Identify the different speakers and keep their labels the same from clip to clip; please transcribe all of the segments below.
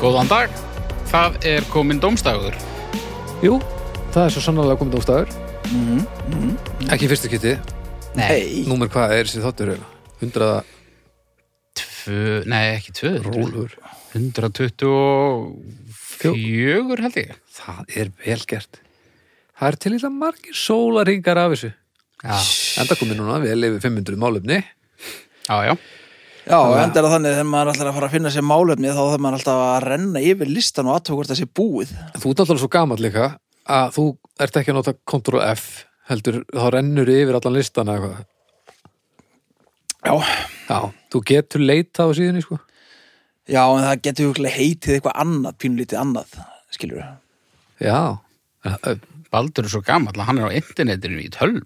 Speaker 1: Góðan dag, það er komin dómstagur.
Speaker 2: Jú, það er svo sannlega komið dómstafur Ekki í fyrstu kitti
Speaker 3: Nei
Speaker 2: Númer hvað er sér þáttur eiginlega? 100
Speaker 1: Tvö, nei ekki tvö.
Speaker 2: rólur
Speaker 1: 124 held ég.
Speaker 2: Það er vel gert Það er til eitthvað margir sólaringar af þessu
Speaker 1: Já,
Speaker 2: Enda komið núna vel yfir 500 málefni
Speaker 1: já, já.
Speaker 3: Já, og enda er það þannig þegar maður ætlar að fara að finna sér málefni þá þarf maður alltaf að renna yfir listan og aðtöku hvort það sé búið
Speaker 2: Þú ert alltaf svo gamall líka að þú ert ekki að nota Ctrl F heldur þá rennur yfir allan listan eða eitthvað
Speaker 3: Já,
Speaker 2: Já, þú getur leitað á síðunni sko
Speaker 3: já en það getur huglega heitið eitthvað annað, pínlítið annað skilur við
Speaker 2: Já, er
Speaker 1: Baldur er svo gammal að hann er á internetinu í tölv.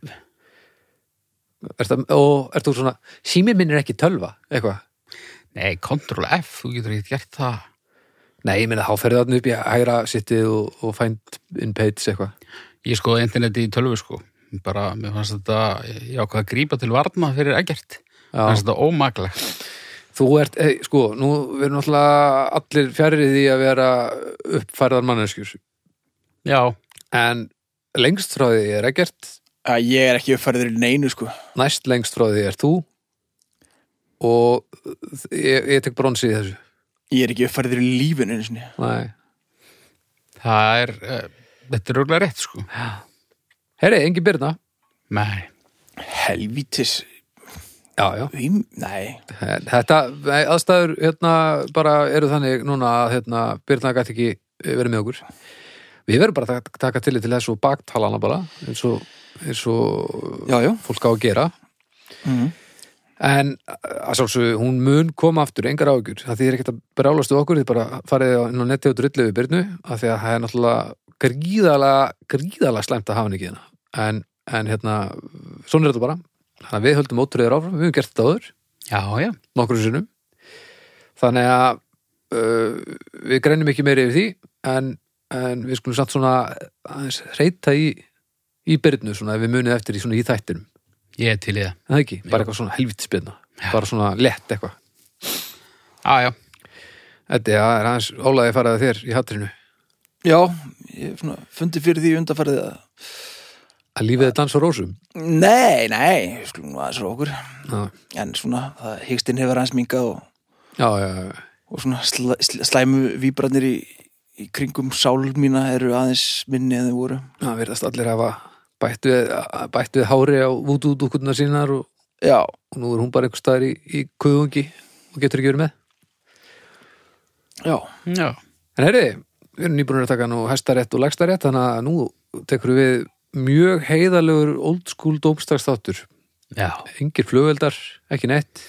Speaker 2: það, og ert þú svona símir minn er ekki tölva, eitthvað
Speaker 1: Nei, Ctrl F, þú getur ekki gert það.
Speaker 2: Nei, ég meina, þá ferðu þarna upp í hægra sittið og, og find in page eitthvað.
Speaker 1: Ég skoði interneti í tölvu sko. Bara, mér fannst þetta, ég ákvað að grípa til varna fyrir ekkert. Mér fannst þetta ómaglegt.
Speaker 2: Þú ert, hey, sko, nú við erum náttúrulega allir fjarrir því að vera uppfærðar manneskjur.
Speaker 1: Já,
Speaker 2: En lengst frá því er ekkert,
Speaker 3: Já, ég er ekki uppfæriður í neinu sko
Speaker 2: næst lengst frá því er þú og ég, ég tek bronsi í þessu.
Speaker 3: Ég er ekki uppfæriður í lífinu einu sinni
Speaker 2: Nei.
Speaker 1: það er, uh, þetta er röglega rétt sko.
Speaker 2: Herri, engin byrna.
Speaker 1: Nei,
Speaker 3: Helvítis,
Speaker 2: Já, já.
Speaker 3: um, nei
Speaker 2: Þetta, nei, aðstæður, hérna, bara eru þannig núna að, hérna, Birna gæti ekki eh, verið með okkur. Við verðum bara að taka- taka til til þessu baktalana bara, eins og, eins og
Speaker 3: Já, já
Speaker 2: fólk á að gera.
Speaker 3: mm.
Speaker 2: En að sjálfsög, hún mun koma aftur, engar ágjur. Það þýðir ekkert að brálastu okkur, þið bara farið á- inn á netti og drullið við Birnu, af því að það er náttúrulega gríðalega, gríðalega slæmt að hafa henni ekki hérna. En, en hérna, svona er þetta bara. Þannig að við höldum ótrúður áfram, við höfum gert þetta áður
Speaker 1: já, já.
Speaker 2: nokkrum sinnum þannig að uh, við greinum ekki meiri yfir því en, en við skulum samt svona aðeins reyta í, í byrnu svona ef við munið eftir í svona í þættinum
Speaker 1: Ég er til í það.
Speaker 2: en það ekki, bara eitthvað svona helvitsbyrna bara svona lett eitthvað
Speaker 1: Já, já.
Speaker 2: Þetta ja, er aðeins ólaði faraði þér í hattrinu
Speaker 3: Já, ég hef svona fundið fyrir því undanfærið að
Speaker 2: að lífið er dans og rósum
Speaker 3: Nei, nei, við skulum nú aðeins frá okkur
Speaker 2: Já,
Speaker 3: En svona, það hyggstinn hefur aðeins mingað og,
Speaker 2: já, já, já.
Speaker 3: og svona sl sl slæmu víbrarnir í, í kringum sál mína eru aðeins minni en þau voru
Speaker 2: það verðast allir hafa bætt við, bætt við hári á vútúdúkutuna sínar og,
Speaker 3: Já,
Speaker 2: og nú er hún bara einhver staðar í, í kuðungi og getur ekki verið með
Speaker 3: já,
Speaker 1: Já.
Speaker 2: En herri, við erum nýbúinir að taka nú hæstarétt og lægstarétt, þannig að nú tekur við mjög heiðalegur old school dómstagsþáttur.
Speaker 1: Já.
Speaker 2: Engir flugveldar, ekki neitt,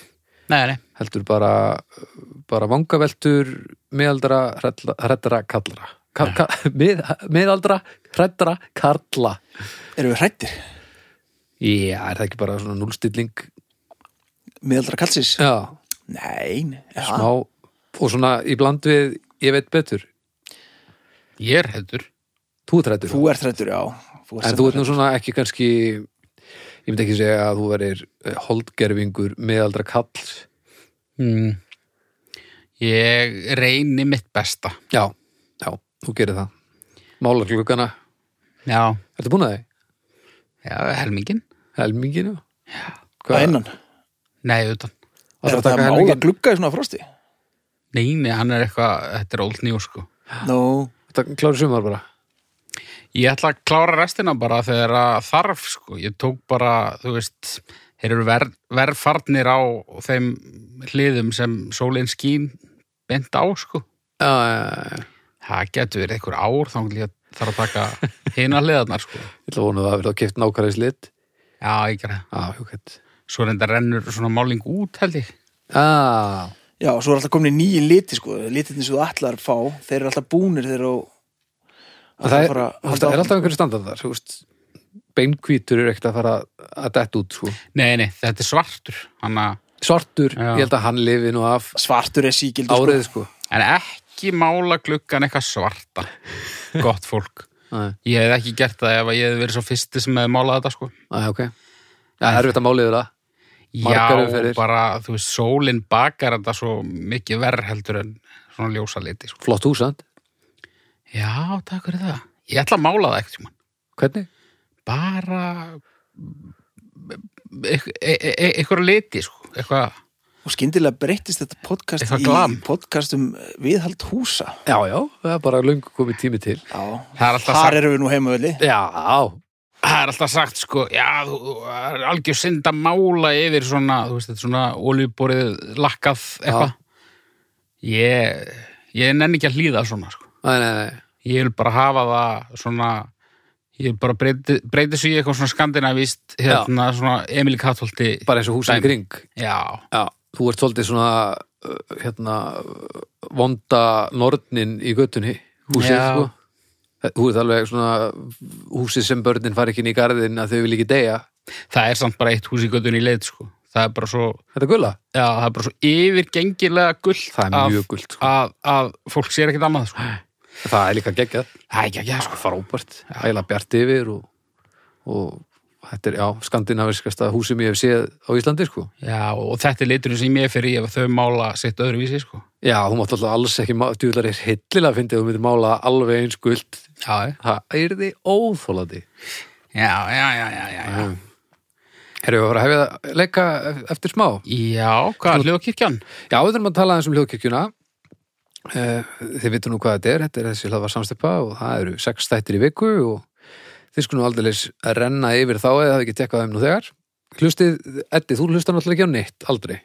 Speaker 1: Nei, nei.
Speaker 2: heldur bara, bara vangaveltur, miðaldra, hrælla- hræddra, kallra. Ka, ka, mið, miðaldra, hræddra, kalla.
Speaker 3: erum við hrættir
Speaker 2: Já, er það ekki bara svona núlstilling?
Speaker 3: miðaldra kallsis
Speaker 2: Já,
Speaker 3: Nei, nei, er það?
Speaker 2: smá. Og svona í bland við, ég veit betur,
Speaker 1: Ég er hættur.
Speaker 2: þú ert hrættur.
Speaker 3: þú ert hrættur, já
Speaker 2: En þú ert nú svona ekki kannski ég myndi ekki segja að þú verir holdgerfingur meðaldra kall
Speaker 1: Mm. Ég reyni mitt besta.
Speaker 2: Já, já, þú gerir það Málar klukkana,
Speaker 1: Já.
Speaker 2: ertu búin að þið?
Speaker 1: Já, helmingin.
Speaker 2: Helminginu?
Speaker 3: Hvað innan?
Speaker 1: Nei, utan.
Speaker 3: Er
Speaker 2: Ætlar að
Speaker 3: það
Speaker 2: taka
Speaker 3: að mála
Speaker 2: helmingin?
Speaker 3: glugga í svona frosti?
Speaker 1: Nei, nei, hann er eitthvað, þetta er old new, sko.
Speaker 3: Nó,
Speaker 2: Það klári sumar bara
Speaker 1: Ég ætla að klára restina bara þegar að þarf, sko. Ég tók bara, þú veist, þeir eru ver, verfarnir á þeim hliðum sem sólinn skín bent á, sko.
Speaker 2: Já, já, já, já.
Speaker 1: Það getur verið einhver ár þá ég þarf að taka hina hliðarnar, sko.
Speaker 2: ég ætla að vona að það verið að keft nákvæmlega slitt
Speaker 1: Já, ég gerði það.
Speaker 2: Já, jú, kett
Speaker 1: Svo reynda rennur svona máling út, held ég.
Speaker 2: Já,
Speaker 3: já, svo er alltaf komin í nýjin liti sko litirni sem þú ætlar að fá, þeir eru alltaf búnir þegar þú
Speaker 2: En það
Speaker 3: ætlar að
Speaker 2: er,
Speaker 3: fara að halda
Speaker 2: alltaf, er
Speaker 3: áfram.
Speaker 2: alltaf einhverju standardar þú veist, Beinkvítur er ekkert að fara að detta út, sko
Speaker 1: Nei, nei, þetta er svartur. Hanna,
Speaker 2: Svartur,
Speaker 1: Já.
Speaker 2: ég held að hann lifi nú af
Speaker 3: svartur er síkildur sko.
Speaker 2: árið, sko
Speaker 1: en ekki mála gluggan eitthvað svarta. Gott fólk.
Speaker 2: Nei.
Speaker 1: Ég hef ekki gert það ef að ég hef verið svo fyrsti sem hefði málað þetta, sko.
Speaker 2: Já, ok. Já, það er þetta máliður það. Margar
Speaker 1: Já,
Speaker 2: umferðir.
Speaker 1: bara, þú veist, sólinn bakar þetta svo mikið verð heldur en svona ljósa liti sko.
Speaker 2: Flott hús, sant?
Speaker 1: já, takk fyrir það ég ætla að mála það ekkert tíma
Speaker 2: Hvernig?
Speaker 1: bara eit- e- e- e- einhverja liti sko. eitthvað
Speaker 3: Og skyndilega breyttist þetta podcast
Speaker 1: Eitthvað glam.
Speaker 3: í podcast um viðhald húsa.
Speaker 2: Já, já, það er bara löngu komið tími til.
Speaker 3: Já,
Speaker 1: Það er alltaf
Speaker 3: þar
Speaker 1: sagt-
Speaker 3: erum við nú heimavöldi.
Speaker 2: Já,
Speaker 1: það er alltaf sagt sko, já, þú, þú er algjör synd að mála yfir svona, þú veist, þetta svona olíuborið lakkað eitthvað. Ég, ég nenni ekki að hlýða svona, sko.
Speaker 2: nei, nei, nei.
Speaker 1: Ég vil bara hafa það svona, ég vil bara breyti, breyti sig í eitthvað svona skandinavíst, hérna, svona Emil Kattholti.
Speaker 2: Bara eins og húsin í
Speaker 1: Dæmi.
Speaker 2: kring.
Speaker 1: Já,
Speaker 2: Já, þú ert svolítið svona, uh, hérna, uh, vonda nornin í göttunni, húsið,
Speaker 1: Já.
Speaker 2: sko. Þú ert alveg svona húsið sem börnin fari ekki inn í garðin að þau vil ekki deyja.
Speaker 1: það er samt bara eitt hús í göttunni í leit, sko. Það er bara svo,
Speaker 2: Þetta er gulla.
Speaker 1: já, það er bara svo yfirgengilega gullt
Speaker 2: Það er mjög gult, sko.
Speaker 1: að, að fólk sér ekkert annað, sko.
Speaker 2: Það er líka geggjað.
Speaker 1: Það er ekki að gera, sko.
Speaker 2: Frábært. Ægilega bjart yfir og, og þetta er, já, skandinaviskasta húsið mér hef séð á Íslandi, sko.
Speaker 1: Já, og þetta er liturinn sem ég er fyrir ef þau mála sitt öðruvísi, sko.
Speaker 2: Já, hún mátt alltaf alls ekki, þú ætlar er hillilega að fyndi að þú myndir mála alveg eins gult.
Speaker 1: Já,
Speaker 2: Það er því óþólandi.
Speaker 1: já, já, já, já, já. Já,
Speaker 2: Herru, við vorum að hefja leika eftir smá.
Speaker 1: já hvað er hljóðkirkjan?
Speaker 2: Já, við þurfum að tala eins um hljóðkirkjuna. Eh, Þið vitum nú hvað þetta er, þetta er þessi hlaðvar samstipa og það eru sex þættir í viku og þið skulum aldrei renna yfir þá eða það ekki tekkað þeim nú þegar. Hlustið, Eddi, þú hlustar náttúrulega ekki á neitt, aldrei.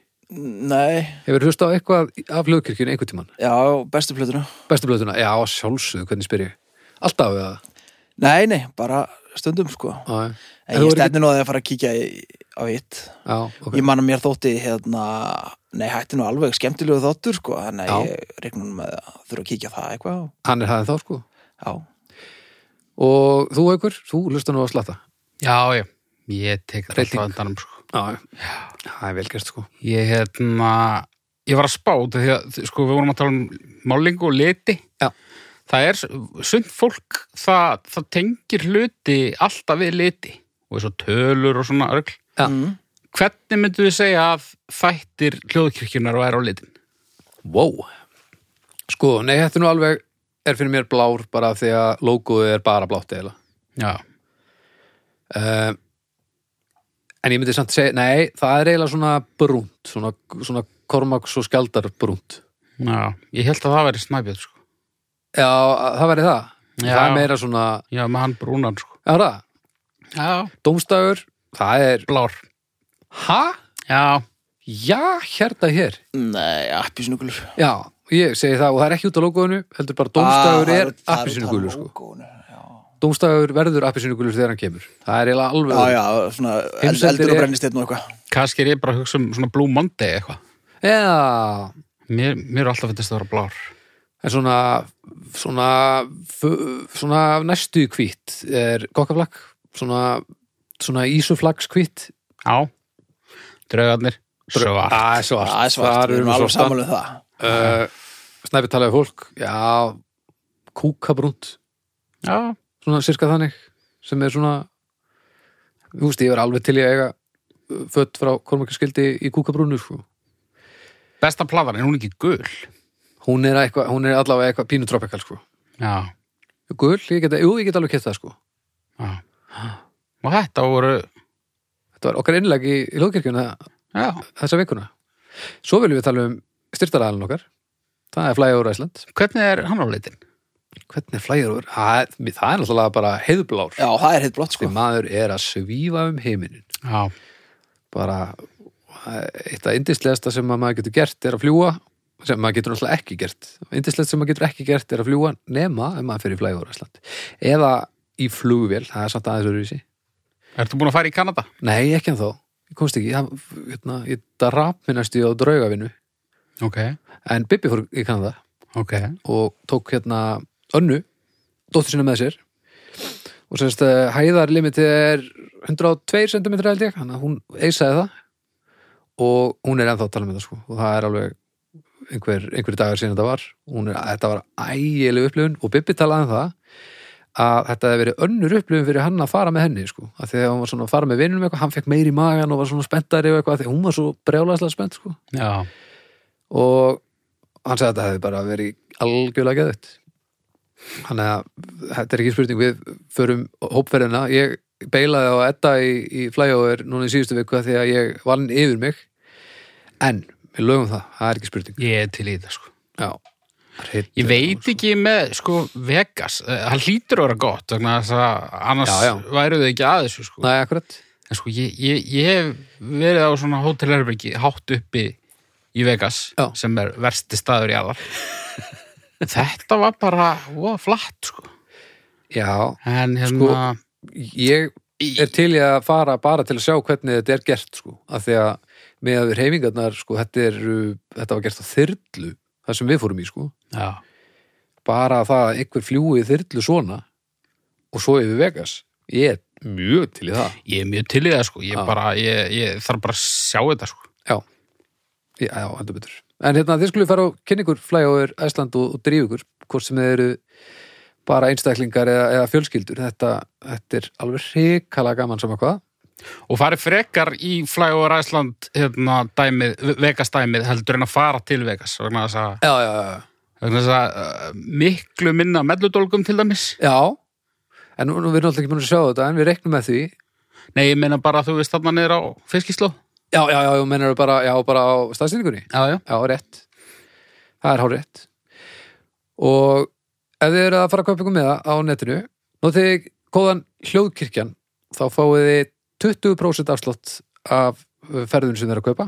Speaker 3: Nei,
Speaker 2: Hefur hlustað á eitthvað af hljóðkirkjunni einhvern tímann?
Speaker 3: já, bestu plötuna.
Speaker 2: Bestu blöðuna? Já, sjálfsögðu, hvernig spyr ég? Alltaf eða?
Speaker 3: Nei, nei, bara stundum sko.
Speaker 2: Já, já. En
Speaker 3: En
Speaker 2: þú
Speaker 3: ég
Speaker 2: er
Speaker 3: stendur nú að það að fara að kíkja í, á hitt.
Speaker 2: Já, ok.
Speaker 3: Ég man að mér þótti hérna, nei, hætti nú alveg skemmtilegu þáttur sko, þannig að
Speaker 2: Já.
Speaker 3: ég reiknum með að þurfa að kíkja á það eitthvað. og-
Speaker 2: Hann er hæðið þá, sko.
Speaker 3: Já,
Speaker 2: Og þú, Haukur, þú hlustar nú á slata.
Speaker 1: Já, já, ég tek það
Speaker 2: Reyting.
Speaker 1: alltaf endanum, sko.
Speaker 2: Já, já. Það er velgerst, sko.
Speaker 1: Ég, hérna, ég var að spá, út af því að, sko, við vorum að tala um málingu og liti.
Speaker 2: Já.
Speaker 1: Það er, sund fólk, það, það tengir hluti alltaf við liti og eins og tölur og svona örgl.
Speaker 2: Já.
Speaker 3: Mm.
Speaker 1: Hvernig myndu þið segja að þættir hljóðkirkjunar og er á litin?
Speaker 2: Wow. Sko, nei, þetta er nú alveg er fyrir mér blár bara af því að logoið er bara blátt eða.
Speaker 1: Já.
Speaker 2: Uh, en ég myndi samt segja, nei, það er eiginlega svona brúnt, svona, svona kormaks og skjaldar brúnt.
Speaker 1: Já, ég held að það væri snæbjörn, sko.
Speaker 2: Já, það væri það.
Speaker 1: Já.
Speaker 2: Það er meira svona,
Speaker 1: Já, með hann brúnan, sko.
Speaker 2: já, það,
Speaker 1: Já.
Speaker 2: dómstagur, það er,
Speaker 1: Blár.
Speaker 2: ha?
Speaker 1: Já.
Speaker 2: Já, hérna hér.
Speaker 3: Nei, appisnugulur.
Speaker 2: Já, ég segi það og það er ekki út á logoinu, heldur bara
Speaker 3: Ah,
Speaker 2: dómstagur er appisínugulur, sko.
Speaker 3: Já,
Speaker 2: Dómstagur verður appisínugulur þegar hann kemur. Það er eiginlega alveg
Speaker 3: Ah, já, já svona eld,
Speaker 2: Heimsendir
Speaker 3: eldur og
Speaker 2: er-
Speaker 3: brennist og eitthvað.
Speaker 1: Kannski er ég bara að hugsa um svona Blue Monday eitthvað.
Speaker 2: Já,
Speaker 1: Mér, mér er alltaf finnst það að vera blár.
Speaker 2: en svona svona, f- svona næstu kvít er kokkaflakk svona, svona ísuflaks kvít
Speaker 1: Já. Draugarnir. Svart.
Speaker 2: Það er Ah, svart,
Speaker 3: Það er svart,
Speaker 2: Þar
Speaker 3: við erum
Speaker 2: við
Speaker 3: alveg
Speaker 2: svartan.
Speaker 3: samanlega það.
Speaker 2: uh, Snæpi talaði fólk Já, kúkabrúnt
Speaker 1: Já.
Speaker 2: svona sirka þannig sem er svona þú veist, ég er alveg til í að eiga uh, fött frá kormakarskildi í kúkabrúnu sko.
Speaker 1: Besta platan, en hún er ekki gul.
Speaker 2: hún, er eitthva, hún er allavega eitthvað pínutropikal sko.
Speaker 1: Já.
Speaker 2: Gull, ég get, jú, ég get alveg kett það sko.
Speaker 1: Já. Og þetta voru,
Speaker 2: Þetta var okkar innleg í, í hlóðkirkjuna
Speaker 1: já,
Speaker 2: þessa vikuna. Svo viljum við tala um styrtaraðalinn okkar. Það er Flyer over Iceland.
Speaker 1: hvernig er hann á litin?
Speaker 2: Hvernig er Flyer over? Það er það er náttúrulega bara heiðblár.
Speaker 3: Já, það er hitt blott sko.
Speaker 2: Því maður er að svífa um heiminin.
Speaker 1: Já.
Speaker 2: Bara eitt af indislegasta sem að maður getur gert er að fljúa sem maður getur náttúrulega ekki gert. Indislegt sem maður getur ekki gert er að fljúa nema ef maður fyrir Flyer over Iceland. Eða í flugvél, það er samt aðeins öðruvísi.
Speaker 1: Ertu búin að fara í Kanada?
Speaker 2: Nei, ekki en þó. Ég komst ekki. Ég, hérna, ég drap minnast ég á draugavinu.
Speaker 1: Ok.
Speaker 2: En Bibi fór í Kanada.
Speaker 1: Ok.
Speaker 2: og tók hérna önnu, dóttur sína með sér og sérst hæðarlimitið er 102 cm held ég, hann að hún eisaði það og hún er ennþá að tala með það sko og það er alveg einhver, einhver dagar síðan þetta var Hún er, þetta var ægileg upplifun og Bibbi talaði um það að þetta hefði verið önnur upplifun fyrir hann að fara með henni sko, að þegar hún var svona að fara með vinnum eitthvað, hann fekk meiri í magan og var svona spenntari og eitthvað, þegar hún var svo brjálæslega spennt sko
Speaker 1: Já.
Speaker 2: og hann sagði að þetta hefði bara verið algjörlega geðvægt þannig að þetta er ekki spurning við förum hópferðina ég beilaði á etta í, í flyover núna í síðustu viku af því að ég vann yfir mig en við lögum það, það er ekki spurning
Speaker 1: Ég er til í þetta, sko.
Speaker 2: Já, Hreinn-
Speaker 1: Ég veit ekki með, sko, Vegas. Eh, Hann hlýtur að vera gott, vegna þess að annars
Speaker 2: Já, já.
Speaker 1: væru þau ekki að þessu, sko.
Speaker 2: Nei, akkurat
Speaker 1: En sko, ég, ég, ég hef verið á svona hótelherbyggi hátt uppi í Vegas,
Speaker 2: Já.
Speaker 1: sem er versti staður í aðar. Þetta var bara, ó, flatt, sko.
Speaker 2: Já,
Speaker 1: En
Speaker 2: Sko,
Speaker 1: hérna,
Speaker 2: ég
Speaker 1: í-
Speaker 2: er til í að fara bara til að sjá hvernig þetta er gert sko, af því að með að við reyfingarnar sko, þetta, er, þetta var gert á þyrlu það sem við fórum í sko
Speaker 1: já,
Speaker 2: bara það að einhver fljúi í þyrlu svona og svo yfir Vegas ég er mjög til í það
Speaker 1: ég er mjög til í það, sko. Ég
Speaker 2: Já.
Speaker 1: bara, ég, ég þarf bara að sjá þetta, sko.
Speaker 2: já, já, heldur betur en hérna þið skulle fara og kynna ykkur flyover Æsland og, og drífa ykkur, hvort sem þið eru bara einstaklingar eða, eða fjölskyldur þetta, þetta er alveg hrikala gaman sem að hvað
Speaker 1: og farið frekar í Flyover Iceland hérna, dæmið, Vegas dæmið heldur en að fara til Vegas vegna þess að,
Speaker 2: já, já, já, já
Speaker 1: vegna þess að uh, miklu minna melludólgum til dæmis
Speaker 2: Já, en nú, nú við erum alltaf ekki búin að sjá þetta en við reknum með því
Speaker 1: nei, ég meina bara að þú veist þarna niður á fiskisló
Speaker 2: Já, já, já, mennur bara, já, bara á staðsýningunni
Speaker 1: já, já,
Speaker 2: Já, rétt Það er hár rétt Og ef þið eru að fara að kaupa ykkur með það á netinu notið þið góðan hljóðkirkjan þá fáið þið 20% afslott af uh, ferðun sem þið eru að kaupa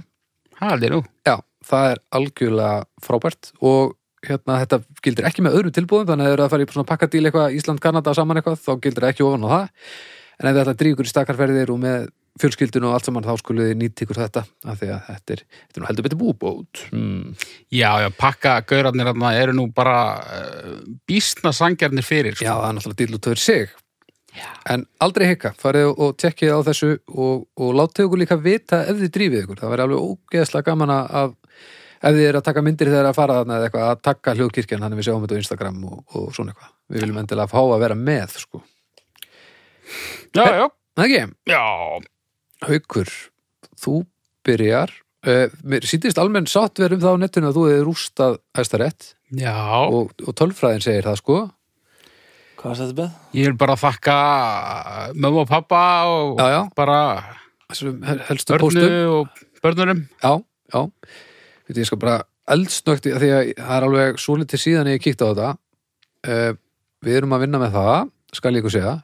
Speaker 1: það er nú
Speaker 2: Já, það er algjörlega frábært og hérna þetta gildir ekki með öðrum tilbúðum þannig að ef þið eru að fara í svona pakkadíl eitthvað Ísland-Kanada saman eitthvað þá gildir það ekki ofan á það en ef þið ætla að drífa ykkur í stakarferðir og með fjölskyldun og allt saman þá skulle þið nýtt ykkur þetta af því að þetta er, þetta er nú heldur betur búbót hmm.
Speaker 1: já, já, pakka gaurarnir þarna eru nú bara uh, býstna sangjarnir fyrir
Speaker 2: Já,
Speaker 1: sko.
Speaker 2: það er náttúrulega dýl út fyrir sig en aldrei hikka, farið og tekkið á þessu og, og látið ykkur líka vita ef þið drífið ykkur, það væri alveg ógeðslega gaman að að- ef þið er að taka myndir þegar að fara þarna eða eitthvað, að taka hljóðkirkjan þannig við sjáum þetta á Instagram og, og svona eitthvað við viljum endilega fá að vera með sko.
Speaker 1: já, já,
Speaker 2: Það ekki,
Speaker 1: já
Speaker 2: haukur þú byrjar uh, mér sýndist almenn sátt verðum það á netinu að þú hefur rústað hæstarétt
Speaker 1: já,
Speaker 2: og, og tölfræðin segir það sko
Speaker 3: Hvað var þetta með?
Speaker 1: ég vil bara þakka eh, mömmu og pappa og
Speaker 2: já, já,
Speaker 1: bara
Speaker 2: þessum hel- helstu
Speaker 1: börnu
Speaker 2: póstum
Speaker 1: og börnurum
Speaker 2: Já, já Veit, ég skal bara eldsnögt því að það er alveg svo litið síðan ég kíkti á þetta uh, Við erum að vinna með það skal ég ykkur segja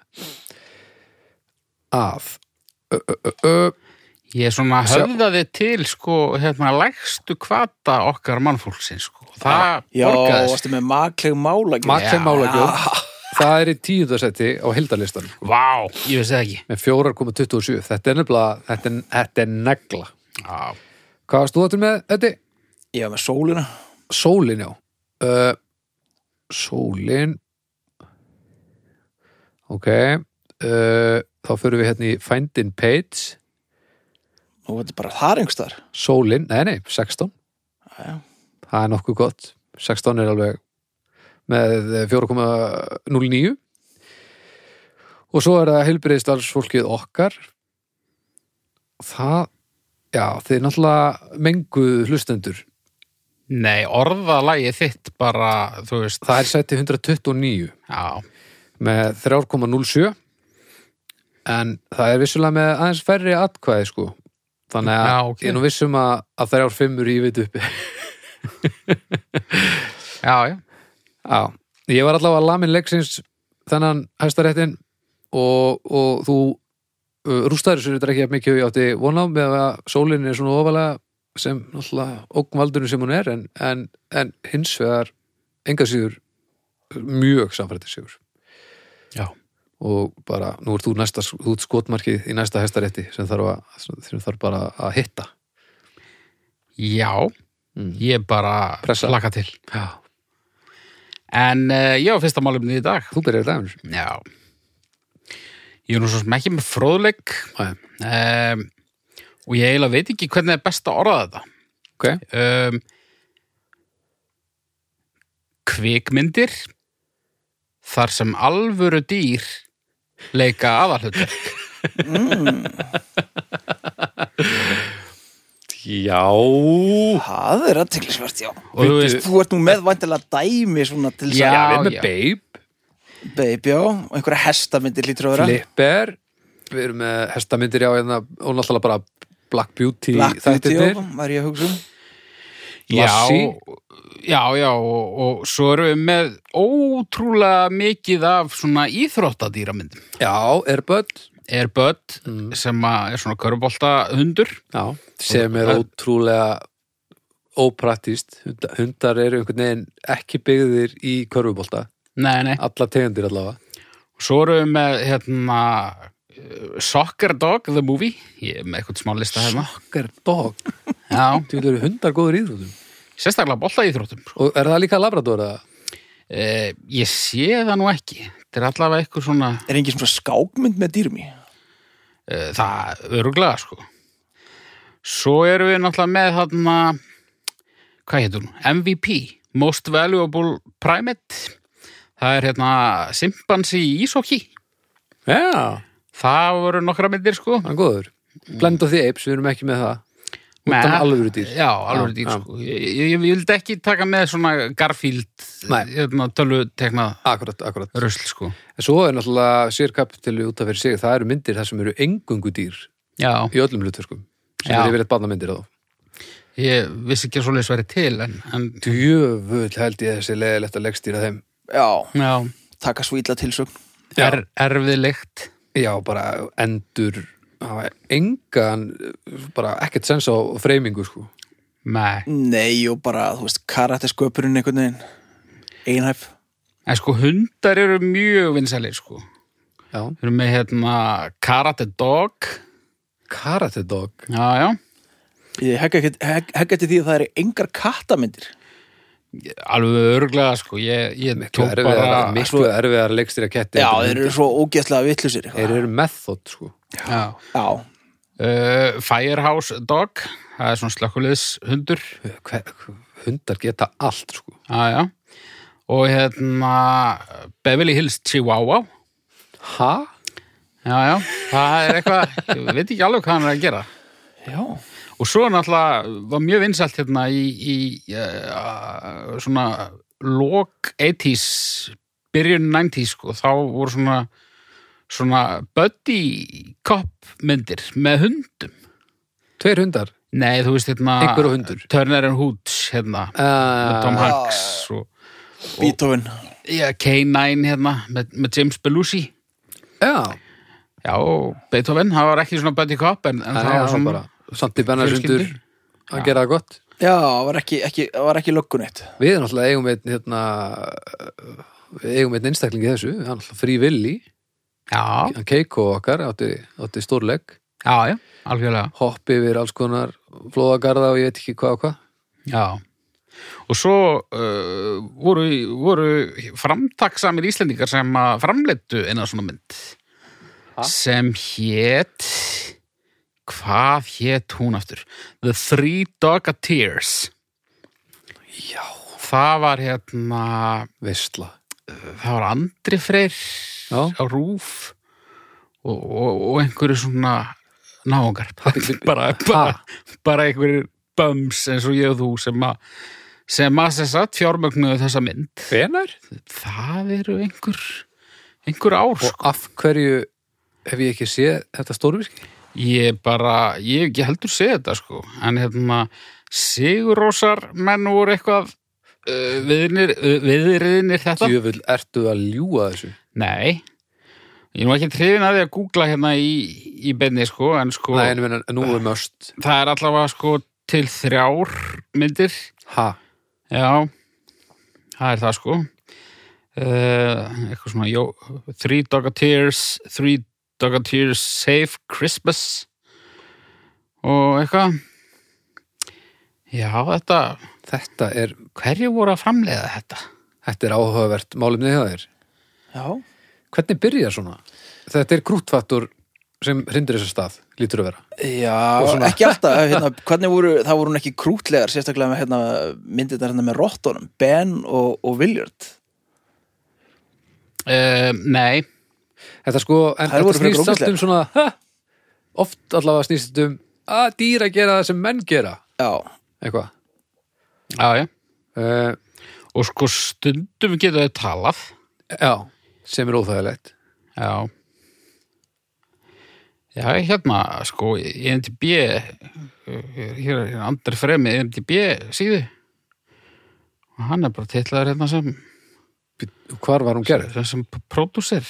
Speaker 2: að ö, ö, ö, ö,
Speaker 1: Ég svona
Speaker 2: Sjá-
Speaker 1: höfðaði til sko, hérna, lægstu kvata okkar mannfólksins sko. Það
Speaker 3: Já,
Speaker 1: borgaði sig.
Speaker 3: varstu með makleg mála
Speaker 2: makleg
Speaker 1: Já.
Speaker 2: málagjöf það er í tíundasetti á hildarlistan
Speaker 1: Vá, ég veist það ekki.
Speaker 2: með 4,27 þetta er nefnilega, þetta er, þetta er negla
Speaker 1: Já,
Speaker 2: Hvað varst þú áttur með þetta?
Speaker 3: Ég var með sólina
Speaker 2: Sólin, já uh, Sólin Ok uh, Þá förum við hérna í Find in Page
Speaker 3: Nú, þetta er bara þar einhverstaðar
Speaker 2: Sólin, nei nei, 16
Speaker 3: já.
Speaker 2: Það er nokkuð gott 16 er alveg með 4,09 og svo er það heilbyrðist alls fólkið okkar það já, þið náttúrulega menguð hlustendur
Speaker 1: nei, orðalagið þitt bara, þú veist,
Speaker 2: það er sætti 129
Speaker 1: já,
Speaker 2: með 3,07 en það er vissulega með aðeins færri atkvæði sko þannig að
Speaker 1: Já, ok.
Speaker 2: ég er nú vissum að, að 3,5 er í vit uppi
Speaker 1: já, já.
Speaker 2: Já, ég var allavega lamin leiksins þennan hæstaréttin og, og þú uh, rústaður sér þetta ekki jafn mikið og ég átti von á með að sólin er svona ofalega sem náttúrulega ógnvaldurinn sem hún er en, en, en hins vegar enga síður mjög samfætti sigur
Speaker 1: Já.
Speaker 2: og bara, nú ert þú næsta þú ert skotmarkið í næsta hæstarétti sem þarf, að, sem þarf bara að hitta
Speaker 1: Já,
Speaker 2: mm.
Speaker 1: ég bara
Speaker 2: Pressa.
Speaker 1: laka til.
Speaker 2: Já,
Speaker 1: En uh, ég á fyrsta málumni í dag.
Speaker 2: þú byrjar dæmur
Speaker 1: Já. Ég er nú svo sem ekki með fróðleik
Speaker 2: Nei.
Speaker 1: um, og ég eiginlega veit ekki hvernig er best að orða þetta.
Speaker 2: Ok,
Speaker 1: um, kvikmyndir þar sem alvöru dýr leika
Speaker 2: Mm.
Speaker 1: aðalhutur
Speaker 3: mm.
Speaker 2: Já
Speaker 3: Það er aðteglisvert, já.
Speaker 1: Og þú veist,
Speaker 3: Þú ert nú með væntilega dæmi svona til
Speaker 1: Já,
Speaker 3: þess
Speaker 2: Já, við erum með
Speaker 1: já.
Speaker 2: Babe,
Speaker 3: að baby á og einhverja hestamindir lítur að vera.
Speaker 2: Flipper Við erum með hestamindir já hérna, og náttúrulega bara Black Beauty
Speaker 3: Black Beauty
Speaker 2: þættirnir.
Speaker 3: á, var ég að hugsa um.
Speaker 1: já,
Speaker 2: Lassie.
Speaker 1: já, já og, og svo erum við með ótrúlega mikið af svona íþróttadýramyndum.
Speaker 2: Já, Airbud Mm.
Speaker 1: Er Bud sem að er svona körbolta hundur
Speaker 2: Já, sem er
Speaker 1: Það-
Speaker 2: ótrúlega ópraktist hundar eru einhvern veginn ekki byggðir í körfubólta,
Speaker 1: Nei, nei.
Speaker 2: alla tegundir allavega
Speaker 1: Svo erum við með hérna eh, Soccer Dog, the movie ég er með eitthvað smá lista hérna
Speaker 2: Soccer dog,
Speaker 1: já,
Speaker 2: þú eru hundar góður íþróttum
Speaker 1: sérstaklega bolta íþróttum
Speaker 2: og er það líka labrador eða?
Speaker 1: eh, ég sé það nú ekki þetta er allavega eitthvað svona
Speaker 3: Er engin svona skákmynd með dýrum í?
Speaker 1: Eh, það öruglega sko svo erum við náttúrulega með þarna hvað heitur hún? MVP, Most Valuable Primate það er hérna simpansi í ísokki
Speaker 2: Já,
Speaker 1: það voru nokkra myndir sko
Speaker 2: hann er góður Blend of the Apes, við erum ekki með það
Speaker 1: Nei.
Speaker 2: Hundan alvöru dýr
Speaker 1: já, alveg dýr
Speaker 2: já.
Speaker 1: sko ég, ég, ég vildi ekki taka með svona Garfield
Speaker 2: Nei.
Speaker 1: hérna, tölvutekna
Speaker 2: Akkurat, akkurat
Speaker 1: rusl sko
Speaker 2: En svo er náttúrulega sérkap til út af fyrir sig það eru myndir þar sem eru engungu dýr
Speaker 1: já,
Speaker 2: í öllum hlutverkum sem
Speaker 1: Já.
Speaker 2: eru yfirleitt barnamyndir þá
Speaker 1: ég vissi ekki að svoleiðis verið til en, en
Speaker 2: Djöfull held ég að þessi leðilegt að leggstýra þeim
Speaker 3: Já,
Speaker 1: já,
Speaker 3: taka svo illa tilsögn.
Speaker 2: Já.
Speaker 1: er, erfið lykt
Speaker 2: Já, bara endur hafa engan bara ekkert sens á freymingu sko.
Speaker 1: nei
Speaker 3: Nei, og bara, þú veist, karatesköpurinn einhvern veginn. Einhæf.
Speaker 1: En sko hundar eru mjög vinsælir sko.
Speaker 2: Já,
Speaker 1: Við erum með hérna Karate Dog.
Speaker 2: Karate Dog
Speaker 1: Já, já.
Speaker 3: Ég hegg ekki hegg- hegg eftir því að það eru engar kattamindir.
Speaker 1: Alveg örglega sko. Ég, ég
Speaker 2: Miklu erfiðar, miklu erfiðar leikstýra ketti
Speaker 3: Já, þeir eru svo ógeðslega vitlusir.
Speaker 2: Þeir eru method sko.
Speaker 1: Já.
Speaker 3: Já,
Speaker 1: Uh, Firehouse Dog. Það er svona slökkuliðs hundur.
Speaker 2: Hver, Hundar geta allt sko.
Speaker 1: Já, já. Og hérna Beverly Hills Chihuahua.
Speaker 2: Ha?
Speaker 1: Já, já. Það er eitthvað, ég veit ekki alveg hvað hann er að gera.
Speaker 3: já.
Speaker 1: Og svo náttúrulega var mjög vinsælt hérna í, í uh, svona lok 80s, byrjun 90s sko, þá voru svona svona buddy cop myndir með hundum.
Speaker 2: Tveir hundar,
Speaker 1: Nei, þú veist hérna
Speaker 2: einhver og hundur
Speaker 1: Turner and Hooch hérna með Tom
Speaker 2: uh,
Speaker 1: Hanks og
Speaker 3: Beethoven.
Speaker 1: ja, K9 hérna með, með James Belushi.
Speaker 2: Já,
Speaker 1: Já, og Beethoven, það var ekki svona buddy cop en, en
Speaker 2: það
Speaker 1: það var
Speaker 2: er
Speaker 1: svona
Speaker 2: bara Sandi Bennars hundur
Speaker 1: Fjölskyldur.
Speaker 2: að gera það gott
Speaker 3: Já, var ekki, ekki, var ekki löggunett.
Speaker 2: Við erum alltaf eigum einn hérna, við eigum einn einstaklingi þessu hann er alltaf frí villi
Speaker 1: Já,
Speaker 2: hann Keiko okkar átti, átti stórleik
Speaker 1: já, já, algjörlega.
Speaker 2: hopp yfir alls konar flóðagarða og ég veit ekki hvað og hvað
Speaker 1: Já. Og svo uh, voru, voru framtaksamir íslendingar sem að framleittu eina svona mynd
Speaker 2: Ha?
Speaker 1: sem hét hvað hét hún aftur? The Three Dogateers
Speaker 2: Já.
Speaker 1: Það var hérna
Speaker 2: veistla
Speaker 1: það var Andri Freyr
Speaker 2: Já.
Speaker 1: á Rúf og, og, og einhverju svona náungar bara, bara,
Speaker 2: Ha?
Speaker 1: bara einhverjir bums eins og ég og þú sem að sem að þess að fjármögnuðu þessa mynd
Speaker 2: Hvenar?
Speaker 1: það eru einhver einhver ár sko.
Speaker 2: Og af hverju hef ég ekki séð þetta stórvirki?
Speaker 1: ég bara, ég hef ekki heldur séð þetta sko, en hérna Sigurósar menn voru eitthvað uh, viðrinir, uh, viðrinir þetta
Speaker 2: Djöfull ertu að ljúga þessu
Speaker 1: nei ég er nú ekki trefin að því að googla hérna í, í benni sko, en sko
Speaker 2: Nei, en ég meina, nú er möst
Speaker 1: það er allavega sko til þrjár myndir
Speaker 2: Ha?
Speaker 1: Já, það er það sko. Uh, eitthvað svona, jó, Three Dogateers, Three Dogateers Save Christmas og eitthvað. Já, þetta,
Speaker 2: Þetta er,
Speaker 1: hverju voru að framleiða þetta?
Speaker 2: þetta er áhugavert málumni hjá þér
Speaker 3: Já.
Speaker 2: Hvernig byrjar svona? Þetta er krútfattur sem hrindir þessar stað, lítur að vera
Speaker 3: Já, ekki alltaf hérna, hvernig voru, það voru hún ekki krútlegar sérstaklega með hérna, myndir hérna með rottunum Ben og, og Willard
Speaker 1: Uh, nei,
Speaker 2: Þetta sko, en
Speaker 3: Þær voru
Speaker 2: þetta
Speaker 3: frekar
Speaker 2: snýst samt
Speaker 3: ógeðslegar.
Speaker 2: um svona ha, oft allavega snýst þetta um að dýra gera það sem menn gera
Speaker 3: já,
Speaker 2: eitthvað
Speaker 1: Já, já.
Speaker 2: uh,
Speaker 1: Og sko stundum getur þau talað.
Speaker 2: já, sem er óþægilegt
Speaker 1: Já. Já, hérna, sko, IMDb, hér er andri fremi IMDb síðu. Og hann er bara titlaður hérna sem,
Speaker 2: hvar var hún gerð?
Speaker 1: sem, sem pródúsir.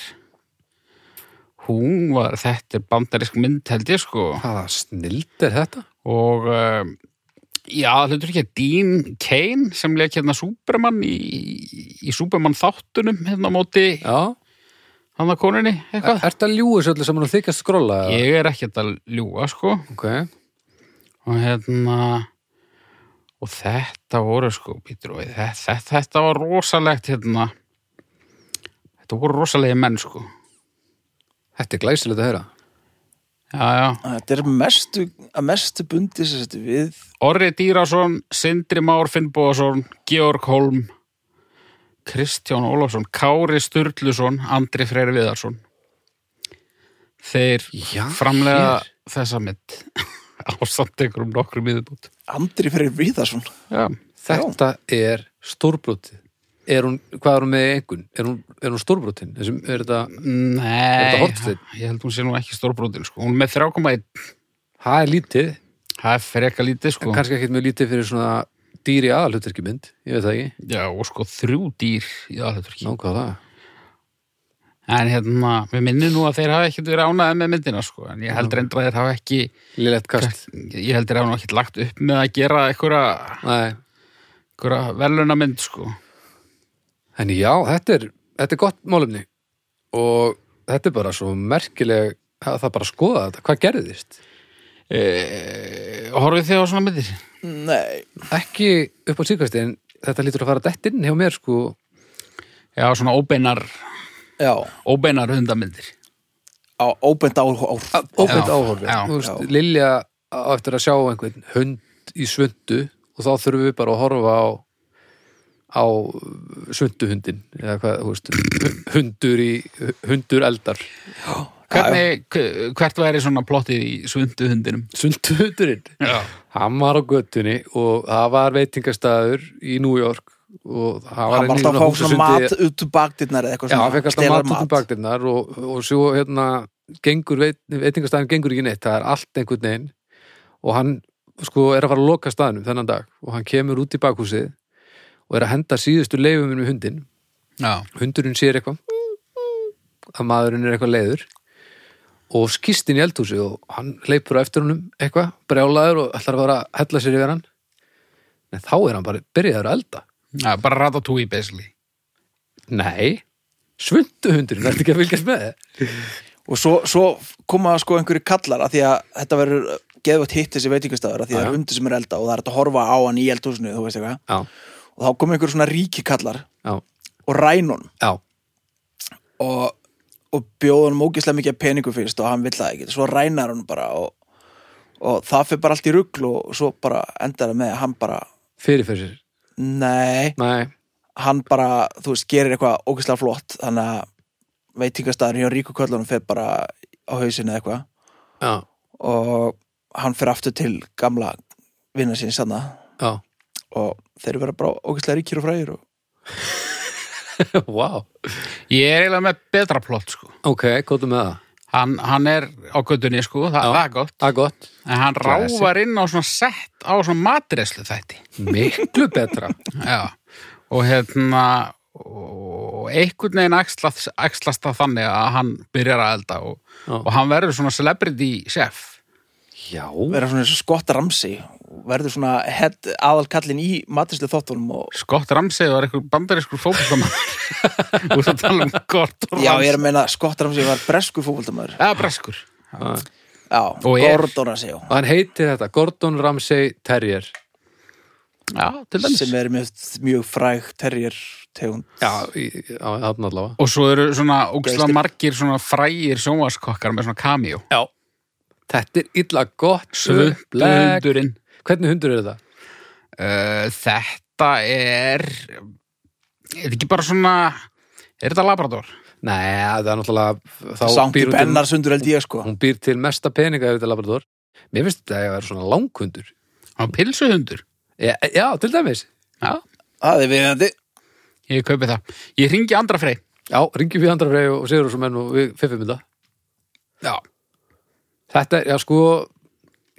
Speaker 1: Hún var, þetta er bandarisk mynd held ég, sko.
Speaker 2: hvaða snild er þetta?
Speaker 1: og um, já, hlutur ekki að Dean Cain sem leik hérna Superman í, í Superman þáttunum hérna á móti
Speaker 2: já,
Speaker 1: hann að konunni eitthvað
Speaker 2: ert að ljúga þessu öllu sem hann þykast skrolla? eða?
Speaker 1: ég er ekkert að ljúga sko
Speaker 2: ok,
Speaker 1: og hérna og þetta voru sko býtur, og þetta, þetta, þetta var rosalegt hérna þetta voru rosalegi menn sko
Speaker 2: þetta er glæsilegt að heyra
Speaker 1: já, já
Speaker 3: þetta er mestu, að mestu bundi sem þetta við
Speaker 1: Orri Dýrason, Sindri Már Finnbóðason, Georg Holm, Kristján Ólafsson, Kári Sturluson, Andri Freyri Viðarsson. Þeir
Speaker 2: Já,
Speaker 1: framlega þessa mynd ásamt einhverjum nokkrum yfirbútt.
Speaker 3: Andri fyrir Viðarsson
Speaker 1: Já,
Speaker 2: þetta er stórbrotið er hún, hvað er hún með einhvern? er hún, er hún stórbrotin? Þessum, er þetta, Er þetta
Speaker 1: nei,
Speaker 2: hornsteinn?
Speaker 1: ég held hún sé nú ekki stórbrotin, sko. Hún er með 3,1,
Speaker 2: það er lítið
Speaker 1: það er freka lítið,
Speaker 2: en
Speaker 1: sko.
Speaker 2: kannski ekkert mjög lítið fyrir svona dýr í aðalhuturki mynd, ég veit það ekki
Speaker 1: Já, og sko þrjú dýr í aðhaldur
Speaker 2: Ná, hvað það?
Speaker 1: En hérna, við minnum nú að þeir hafa ekkert verið ánaði með myndina, sko. En ég held reyndra að þeir hafa ekki
Speaker 2: Lillett kast
Speaker 1: ég heldur að hann ekki lagt upp með að gera einhverja,
Speaker 2: Nei.
Speaker 1: einhverja velunamynd sko.
Speaker 2: En já, þetta er, þetta er gott málumni og þetta er bara svo merkileg að það bara að skoða þetta, hvað gerðist?
Speaker 1: e, horfið þið á svona myndir
Speaker 3: nei,
Speaker 2: Ekki upp á síkvæsti en þetta lítur að fara dætt inn hjá mér sko
Speaker 1: já, svona óbeinar,
Speaker 3: já,
Speaker 1: óbeinar hundamyndir
Speaker 3: á, óbend á, á
Speaker 2: óbænt
Speaker 1: Já,
Speaker 2: áhorfið.
Speaker 1: já,
Speaker 2: Þú veist,
Speaker 3: já.
Speaker 2: Lilja á eftir að sjá einhvern hund í svundu og þá þurfum við bara að horfa á á svunduhundin eða hvað, þú veist, hundur í hundur eldar
Speaker 1: Hvernig, hve- hvert væri svona plottið í svundu hundinum
Speaker 2: svunduhundurinn
Speaker 1: já.
Speaker 2: Hann var á göttunni og það var veitingastæður í New York og það var
Speaker 3: hann var
Speaker 2: einnig
Speaker 3: alltaf að fá svona
Speaker 2: húsasundi-
Speaker 3: mat út úr bakdýrnar eða eitthvað
Speaker 2: Já, hann fekk alltaf
Speaker 3: stelar
Speaker 2: mat út um bakdyrnar og, og svo hérna gengur veit, veitingastæðin gengur ekki neitt, það er allt einhvern veginn og hann sko er að fara að loka staðnum þennan dag og hann kemur út í bakhúsið og er að henda síðustu leifuminn með hundin
Speaker 1: Já.
Speaker 2: hundurinn sér eitthvað að maðurinn er eitthvað leiður og skýst inn í eldhúsi og hann hleypur á eftir honum eitthvað, brjálaður og ætlar að fara að hella sér yfir hann en þá er hann bara byrjaður að elda
Speaker 1: já, bara ratatúi basically
Speaker 2: nei, svunduhundurinn, ertu ekki að fylgjast með þið?
Speaker 3: og svo, svo koma sko einhverju kallar að því að þetta verður geðvægt hitt þessi veitingastæður að því
Speaker 2: Já,
Speaker 3: að
Speaker 2: já.
Speaker 3: það er hundur sem er elda og það er hægt að horfa á hann í eldhúsinu þú veist eitthvað
Speaker 2: Já,
Speaker 3: og þá koma einhverju svona ríkikallar
Speaker 2: já,
Speaker 3: og rænun
Speaker 2: já,
Speaker 3: og, og bjóða hann ógislega mikið af peningu fyrst og hann vill það ekki svo rænar hann bara og, og það fyrir bara allt í rugl og svo bara endar það með að hann bara
Speaker 2: fyrir fyrir sér
Speaker 3: nei,
Speaker 2: Nei,
Speaker 3: hann bara, þú veist, gerir eitthvað ógislega flott þannig að veitingastæðurinn hjá ríkuköllunum fer bara á hausinu eða eitthvað
Speaker 2: já,
Speaker 3: og hann fer aftur til gamla vinna sín sanna
Speaker 2: já
Speaker 3: og þeir vera bara ógæslega ríkir og frægir og
Speaker 2: Vá, wow.
Speaker 1: ég er eiginlega með betra plott sko.
Speaker 2: ok, góðum með það
Speaker 1: hann, hann er á göttunni sko, það,
Speaker 2: Já.
Speaker 1: það er gott
Speaker 2: Það er gott,
Speaker 1: en hann
Speaker 2: Classic.
Speaker 1: ráfar inn á svona sett á svona matreslu þætti
Speaker 2: miklu betra
Speaker 1: Já, og hérna og einhvern veginn æxlast, æxlast það þannig að hann byrjar að elda og,
Speaker 2: Já.
Speaker 1: og hann verður svona celebrity chef
Speaker 2: Já,
Speaker 3: vera svona eins og skott ramsi og verður svona head, aðalkallin í matrislu þóttunum og
Speaker 1: Scott Ramsey var einhver bandarískur fótboltamæður út að tala um Gordon
Speaker 3: já, ég er
Speaker 1: Ramsay
Speaker 3: að meina skott ramsi var bresku fótboltamöður
Speaker 1: eða breskur
Speaker 3: já,
Speaker 1: Og er.
Speaker 3: Gordon ramsi já,
Speaker 2: og hann heitir þetta Gordon Ramsay Terrier
Speaker 1: Já, til dæmis
Speaker 3: sem er mjög, mjög fræg terjir tegund
Speaker 2: Já, í, á hann allavega
Speaker 1: Og svo eru svona ógislega
Speaker 3: Geistir.
Speaker 1: margir svona frægir sjónvaskokkar með svona cameo
Speaker 2: Já, þetta er illa gott upplegg.
Speaker 1: Svöldundurinn
Speaker 2: Hvernig hundur er þetta?
Speaker 1: uh, Þetta er Er þetta ekki bara svona Er þetta Labrador?
Speaker 2: Nei, það er náttúrulega þá
Speaker 3: samt í
Speaker 2: býr hún til-
Speaker 3: bennar sundur held ég sko
Speaker 2: Hún býr til mesta peninga yfir þetta labrador Mér finnst þetta að vera svona langhundur
Speaker 1: Á pilsuhundur.
Speaker 2: Já, já til dæmis.
Speaker 1: Já,
Speaker 3: Það er viðandi
Speaker 1: ég kaupi það. Ég ringi andra frey.
Speaker 2: Já, ringjum við andra freyju og sigur þessu menn og við fiffum þetta.
Speaker 1: Já.
Speaker 2: Þetta, er- já sko,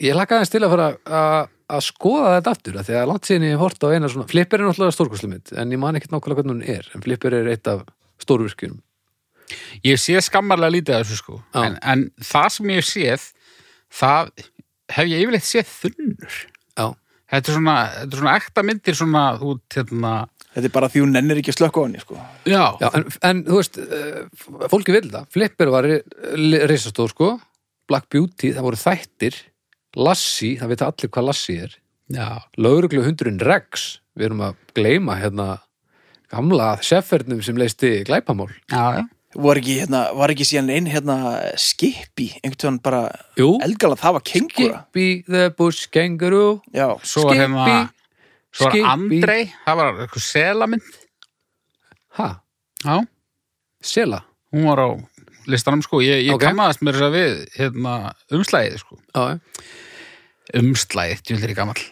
Speaker 2: ég hlakka aðeins til að fara að- að skoða þetta aftur af því að langt síðan ég hef hort á eina svona Flipper er náttúrulega stórkurslumitt, en ég man ekkert nákvæmlega hvernig hún er, en Flipper er eitt af stórvirkjunum.
Speaker 1: Ég sé skammarlega lítið af þessu sko.
Speaker 2: Já.
Speaker 1: En, en það sem ég hef séð, það hef ég yfirleitt séð þunnur.
Speaker 2: Já,
Speaker 1: Þetta er svona, þetta er svona ekta myndir svona út, hérna,
Speaker 3: Þetta er bara því hún nennir ekki að slökka á henni sko.
Speaker 1: já,
Speaker 2: já en, en þú veist, eh, fólki vil það. Flipper var ri- li- risastór sko, Black Beauty, það voru þættir, Lassie, það vita allir hvað Lassie er,
Speaker 1: já,
Speaker 2: lauruglu hundurinn Rex, við erum að gleyma hérna gamla seffernum sem leisti glæpamál.
Speaker 1: já, já.
Speaker 3: var, ekki, hérna, var ekki síðan einn hérna, skipi Einhvern tíðan bara
Speaker 2: Jú,
Speaker 3: eldgala það var kengura
Speaker 2: Skippy the Bush Kangaroo
Speaker 3: Já,
Speaker 1: Svo var hérna, svo var
Speaker 2: Skippy.
Speaker 1: Andrei, það var eitthvað selamynd,
Speaker 2: Hæ?
Speaker 1: já,
Speaker 2: Sela?
Speaker 1: hún var á listanum sko. Ég, ég
Speaker 2: Ok.
Speaker 1: okay. kannaðast mér þess að segja við, hérna, umslæðið sko.
Speaker 2: Já, já.
Speaker 1: Umslæðið, djúldir í gamall.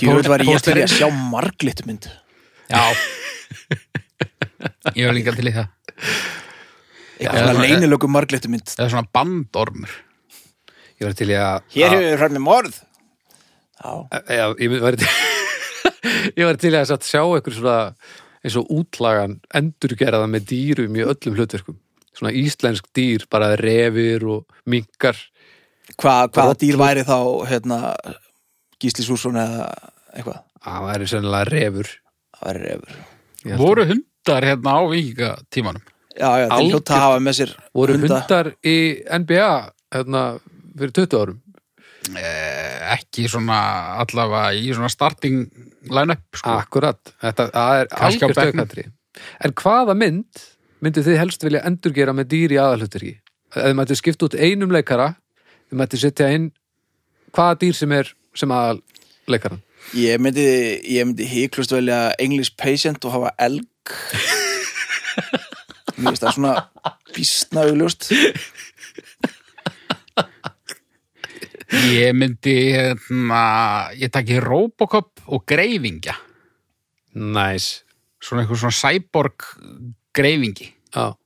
Speaker 3: djúvel var ég til í
Speaker 1: Pósterinn.
Speaker 3: að sjá marglitu mynd
Speaker 1: Já. ég var líka til í það.
Speaker 3: Eitthvað svona leynilöku marglitu mynd
Speaker 1: eða svona bandormur
Speaker 2: Ég var til í að
Speaker 3: Hér hefur við frá með morð Já,
Speaker 2: Eh, Já, ég mynd- var til Ég var til í að satt sjá ykkur svona eins og útlagan endurgerða með dýrum í öllum hlutverkum svona íslensk dýr, bara refir og minkar
Speaker 3: Hva, hvaða dýr væri þá hérna, Gísli Súrsson eða eitthvað
Speaker 2: Það væri Ah, sennilega refur
Speaker 3: Það væri refur
Speaker 2: Ég held að-
Speaker 1: voru hundar hérna á vikingatímanum
Speaker 3: Já, já, þeir
Speaker 2: Algjört-
Speaker 3: hljóta að hafa með sér
Speaker 2: voru
Speaker 3: hunda.
Speaker 2: hundar í NBA hérna, fyrir 20 árum
Speaker 1: eh, ekki svona allavega í svona starting line-up sko.
Speaker 2: Akkurat, þetta það er
Speaker 1: Kannski á
Speaker 2: algjörst
Speaker 1: bekknum.
Speaker 2: aukatri En hvaða mynd myndu þið helst vilja endurgera með dýr í aðalhutverki? Ef þið mættu skipta út einum leikara þið mættu setja inn hvaða dýr sem er sem aðal leikaran
Speaker 3: Ég myndi, ég myndi híklust velja English patient og hafa elg Mér finnst það svona býstna augljóst
Speaker 1: ég myndi hérna, ég takki Robocop og Greifingja
Speaker 2: Næs
Speaker 1: svona eitthvað svona cyborg Greifingi
Speaker 2: Já,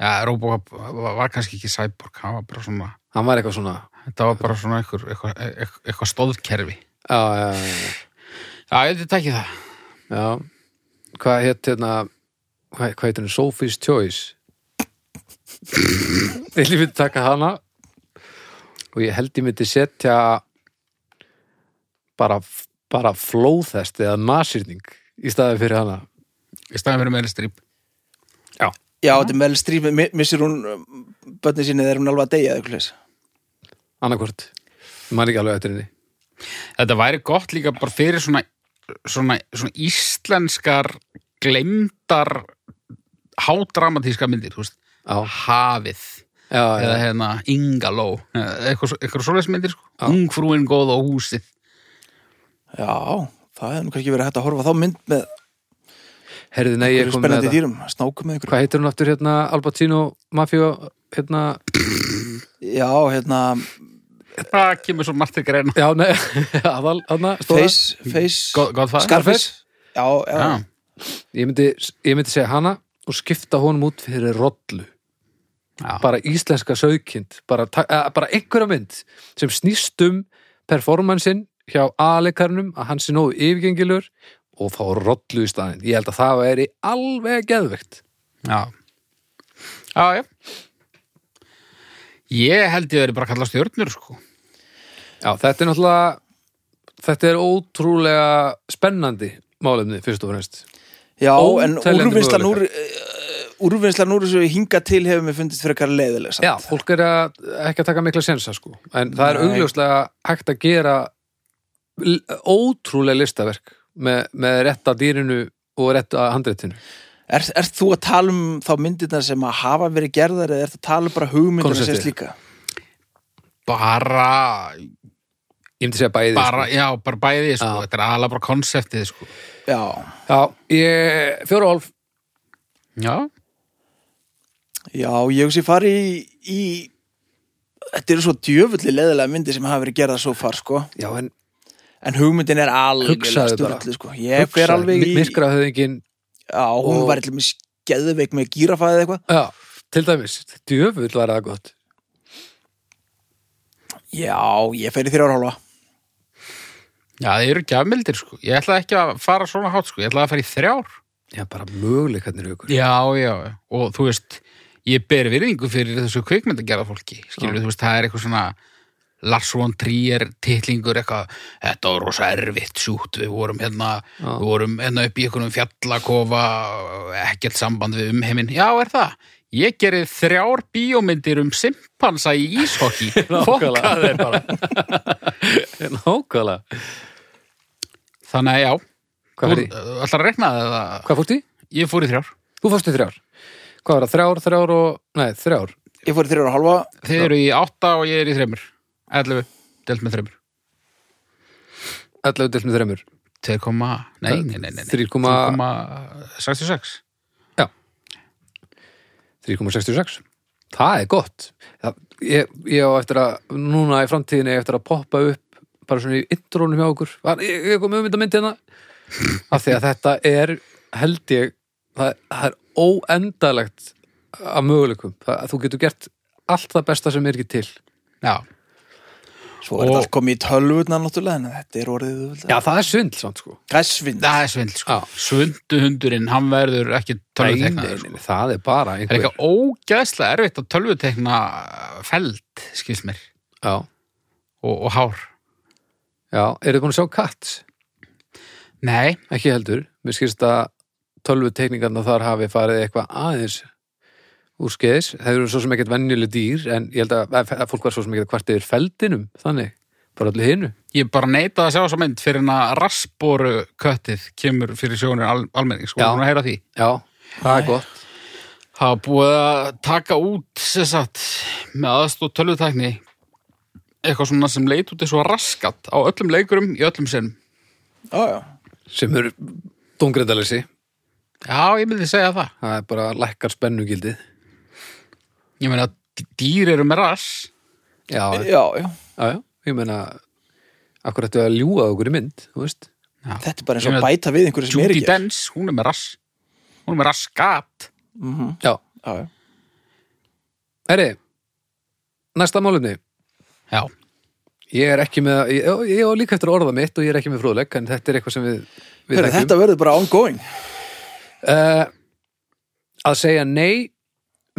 Speaker 1: ja, Robocop var, var kannski ekki cyborg hann var bara svona
Speaker 2: hann var eitthvað svona
Speaker 1: þetta var bara svona eitthvað, eitthvað, eitthvað, eitthvað stóðkerfi
Speaker 2: Já, já, já, já.
Speaker 1: já, ég myndi takki það
Speaker 2: já. Hvað hétt hérna hvað, hvað heitir hann? Sophie's Choice Ég myndi taka hana og ég held ég myndi setja bara, bara flóðhest eða nasýrning í staði fyrir hana
Speaker 1: í staðan fyrir meðli strýp
Speaker 3: Já, þetta er meðal stríf Missir hún bönni sinni þegar hún er alveg að deyja eða eitthvað leys.
Speaker 2: annarkvort, maður ekki alveg eftir henni
Speaker 1: Þetta væri gott líka bara fyrir svona, svona, svona íslenskar glemdar hádramatíska myndir, þú veist,
Speaker 2: Já,
Speaker 1: Hafið
Speaker 2: já,
Speaker 1: eða
Speaker 2: já,
Speaker 1: hérna Ingaló eða eitthvað, svo- eitthvað svoleiðis myndir, sko. Ungfrúin góð og húsið
Speaker 3: Já, það hefði nú kannski verið hægt að horfa á þá mynd með
Speaker 2: herði nei, ég kom með
Speaker 3: spennandi
Speaker 2: þetta
Speaker 3: dýrum, snákum með ykkur
Speaker 2: Hvað heitir hún aftur hérna, Albatino Mafio, hérna
Speaker 3: Já, hérna,
Speaker 1: Það kemur svo margt til greina
Speaker 2: já, nei, aðal, aðna, stóra
Speaker 3: face, face
Speaker 1: Góð, góð það
Speaker 3: Scarface Já, já,
Speaker 1: Já,
Speaker 2: ég myndi, ég myndi segja hana og skipta honum út fyrir rollu
Speaker 1: Já.
Speaker 2: bara íslenska sögkind bara, ta- eh, bara einhverja mynd sem snýst um performansin hjá aðleikarnum að hann sé nógu yfirgengilur og fá rollu í staðinn ég held að það væri alveg geðvegt
Speaker 1: já Já, já Ég held ég verið bara að kalla stjörnur, sko
Speaker 2: já, þetta er náttúrulega þetta er ótrúlega spennandi málefni fyrst og fremst
Speaker 3: já en
Speaker 2: Óteljandi
Speaker 3: úrvinnslan úr
Speaker 2: möguleikar.
Speaker 3: eh, Úrvinnslan úr þessu hinga til hefur mér fundist fyrir eitthvað leiðileg samt.
Speaker 2: já, fólk er að, ekki að taka mikla sensa sko en það er
Speaker 3: Nei.
Speaker 2: augljóslega hægt að gera l- ótrúlega listaverk með, með rétta dýrinu og rétta handreitinu
Speaker 3: Er, ert þú að tala um þá myndirnar sem að hafa verið gerðar eða ert að tala um bara hugmyndirna sem
Speaker 2: Konceptið.
Speaker 3: slíka?
Speaker 1: Bara,
Speaker 2: ég myndi segja bæði
Speaker 1: bara, já, bara bæði, sko
Speaker 2: Já.
Speaker 1: Þetta er aðlega bara konseptið, sko
Speaker 3: Já,
Speaker 2: sko. já, ég, fjóra og hálf
Speaker 1: Já,
Speaker 3: já, ég hugsi fari í, í þetta eru svo djöfulli leðilega myndi sem hafa verið gerða svo far sko.
Speaker 2: Já, en
Speaker 3: en hugmyndin er alveg
Speaker 2: Hugsaðu bara.
Speaker 3: sko. ég fer alveg í
Speaker 2: Myrkra höfðingin,
Speaker 3: já, hún
Speaker 2: og-
Speaker 3: var allir með skeðveik með gírafæði eitthvað
Speaker 2: já, til dæmis Djöfull var það gott
Speaker 3: já, ég fer í þrjárhálfa
Speaker 1: Já, það eru gjafmildir sko. Ég ætla ekki að fara svona hátt sko. Ég ætla að fara í þrjár.
Speaker 2: Já, bara möguleikarnir aukur
Speaker 1: Já, já. já. Og þú veist, ég ber virðingu fyrir þessu kvikmyndagerða fólki. Skilur, þú veist, það er eitthvað svona Lars von Trier titlingur eitthvað, þetta var rosa erfitt sjúkt, við vorum hérna,
Speaker 2: Já.
Speaker 1: við vorum hérna upp í einhvernum fjallakofa, ekkert samband við umheiminn. Já, er það? Ég gerði þrjár bíómyndir um simpansa í íshokki. Fokkaði þeir bara.
Speaker 2: Nákvæmlega
Speaker 1: Þannig að já,
Speaker 2: Hvað
Speaker 1: þú
Speaker 2: fór í?
Speaker 1: ætlar að rekna það?
Speaker 2: Hvað fórst í?
Speaker 1: Ég fór í þrjár.
Speaker 2: Þú fórst í þrjár Hvað var það? Þrjár, þrjár og... Nei, þrjár
Speaker 3: ég fór í þrjárhálfa
Speaker 1: Þið eru í átta og ég er í þreymur. 11, delt með þreymur.
Speaker 2: 11 delt með þremur
Speaker 1: 2, nei, nei, nei, nei, nei.
Speaker 2: 3,-
Speaker 1: 3,66.
Speaker 2: 3,66 Það er gott það, ég, ég á eftir að, núna í framtíðinni ég á eftir að poppa upp bara svona í intrónum hjá okkur Var, ég, ég kom um þetta myndi hérna af því að þetta er, held ég það, það er óendalegt af möguleikum það, þú getur gert allt það besta sem er ekki til
Speaker 1: Já,
Speaker 3: svo
Speaker 1: Og-
Speaker 3: er þetta allt komið í tölvutna náttúrulega en þetta er orðið auðveldara.
Speaker 2: Já, það er svindl samt sko
Speaker 3: græsvind
Speaker 1: það er svindl, sko.
Speaker 2: Já.
Speaker 1: Svunduhundurinn, hann verður ekki
Speaker 2: nei,
Speaker 1: tölvutekna.
Speaker 2: nei,
Speaker 1: Sko.
Speaker 2: nei, það er bara
Speaker 1: Það er
Speaker 2: einhver
Speaker 1: eitthvað ógæðslega erfitt að tölvutekna feld, skilst mér,
Speaker 2: Já,
Speaker 1: og, og hár.
Speaker 2: já, eru þið búin að sjá Cats?
Speaker 1: Nei,
Speaker 2: Ekki heldur, mér skilst að tölvu teikningarna þar hafi farið eitthvað aðeins úr skeiðis. Það eru svo sem ekkert venjuleg dýr en ég held að, að að fólk var svo sem ekkert hvart yfir feldinum, þannig, bara allir hinu.
Speaker 1: ég bara neita að sjá þessa mynd fyrir en að rasporu köttið kemur fyrir sjónur al almenning, sko.
Speaker 2: Já.
Speaker 1: Hún er að heyra af því.
Speaker 2: Já, það er gott.
Speaker 1: Það var búið að taka út sessat, með aðstóð tölvutækni eitthvað svona sem leit út eins og raskat á öllum leikurum í öllum sinnum.
Speaker 3: já, já.
Speaker 2: Sem eru dungrindalessi,
Speaker 1: Já, ég myndi segja það.
Speaker 2: það er bara lækkar spennugildið.
Speaker 1: Ég meina, dýr eru með ras.
Speaker 2: Já, já,
Speaker 3: já, já,
Speaker 2: já, ég meina, akkur ættu að ljúga að okkur í mynd, þú veist.
Speaker 3: þetta er bara eins
Speaker 1: Ég
Speaker 3: og
Speaker 1: meina,
Speaker 3: að bæta við einhverju sem er
Speaker 1: Judy
Speaker 3: ekki já,
Speaker 1: Dench, hún er með ras. Hún er með raskat.
Speaker 2: Já,
Speaker 3: Mhm. já.
Speaker 2: herri, næsta málumni.
Speaker 1: Já,
Speaker 2: Ég er ekki með, ég, ég á líka eftir að orða mitt og ég er ekki með fróðleik, en þetta er eitthvað sem við, við
Speaker 3: Hörru,
Speaker 2: þekkjum.
Speaker 3: þetta verður bara ongoing
Speaker 2: uh, að segja nei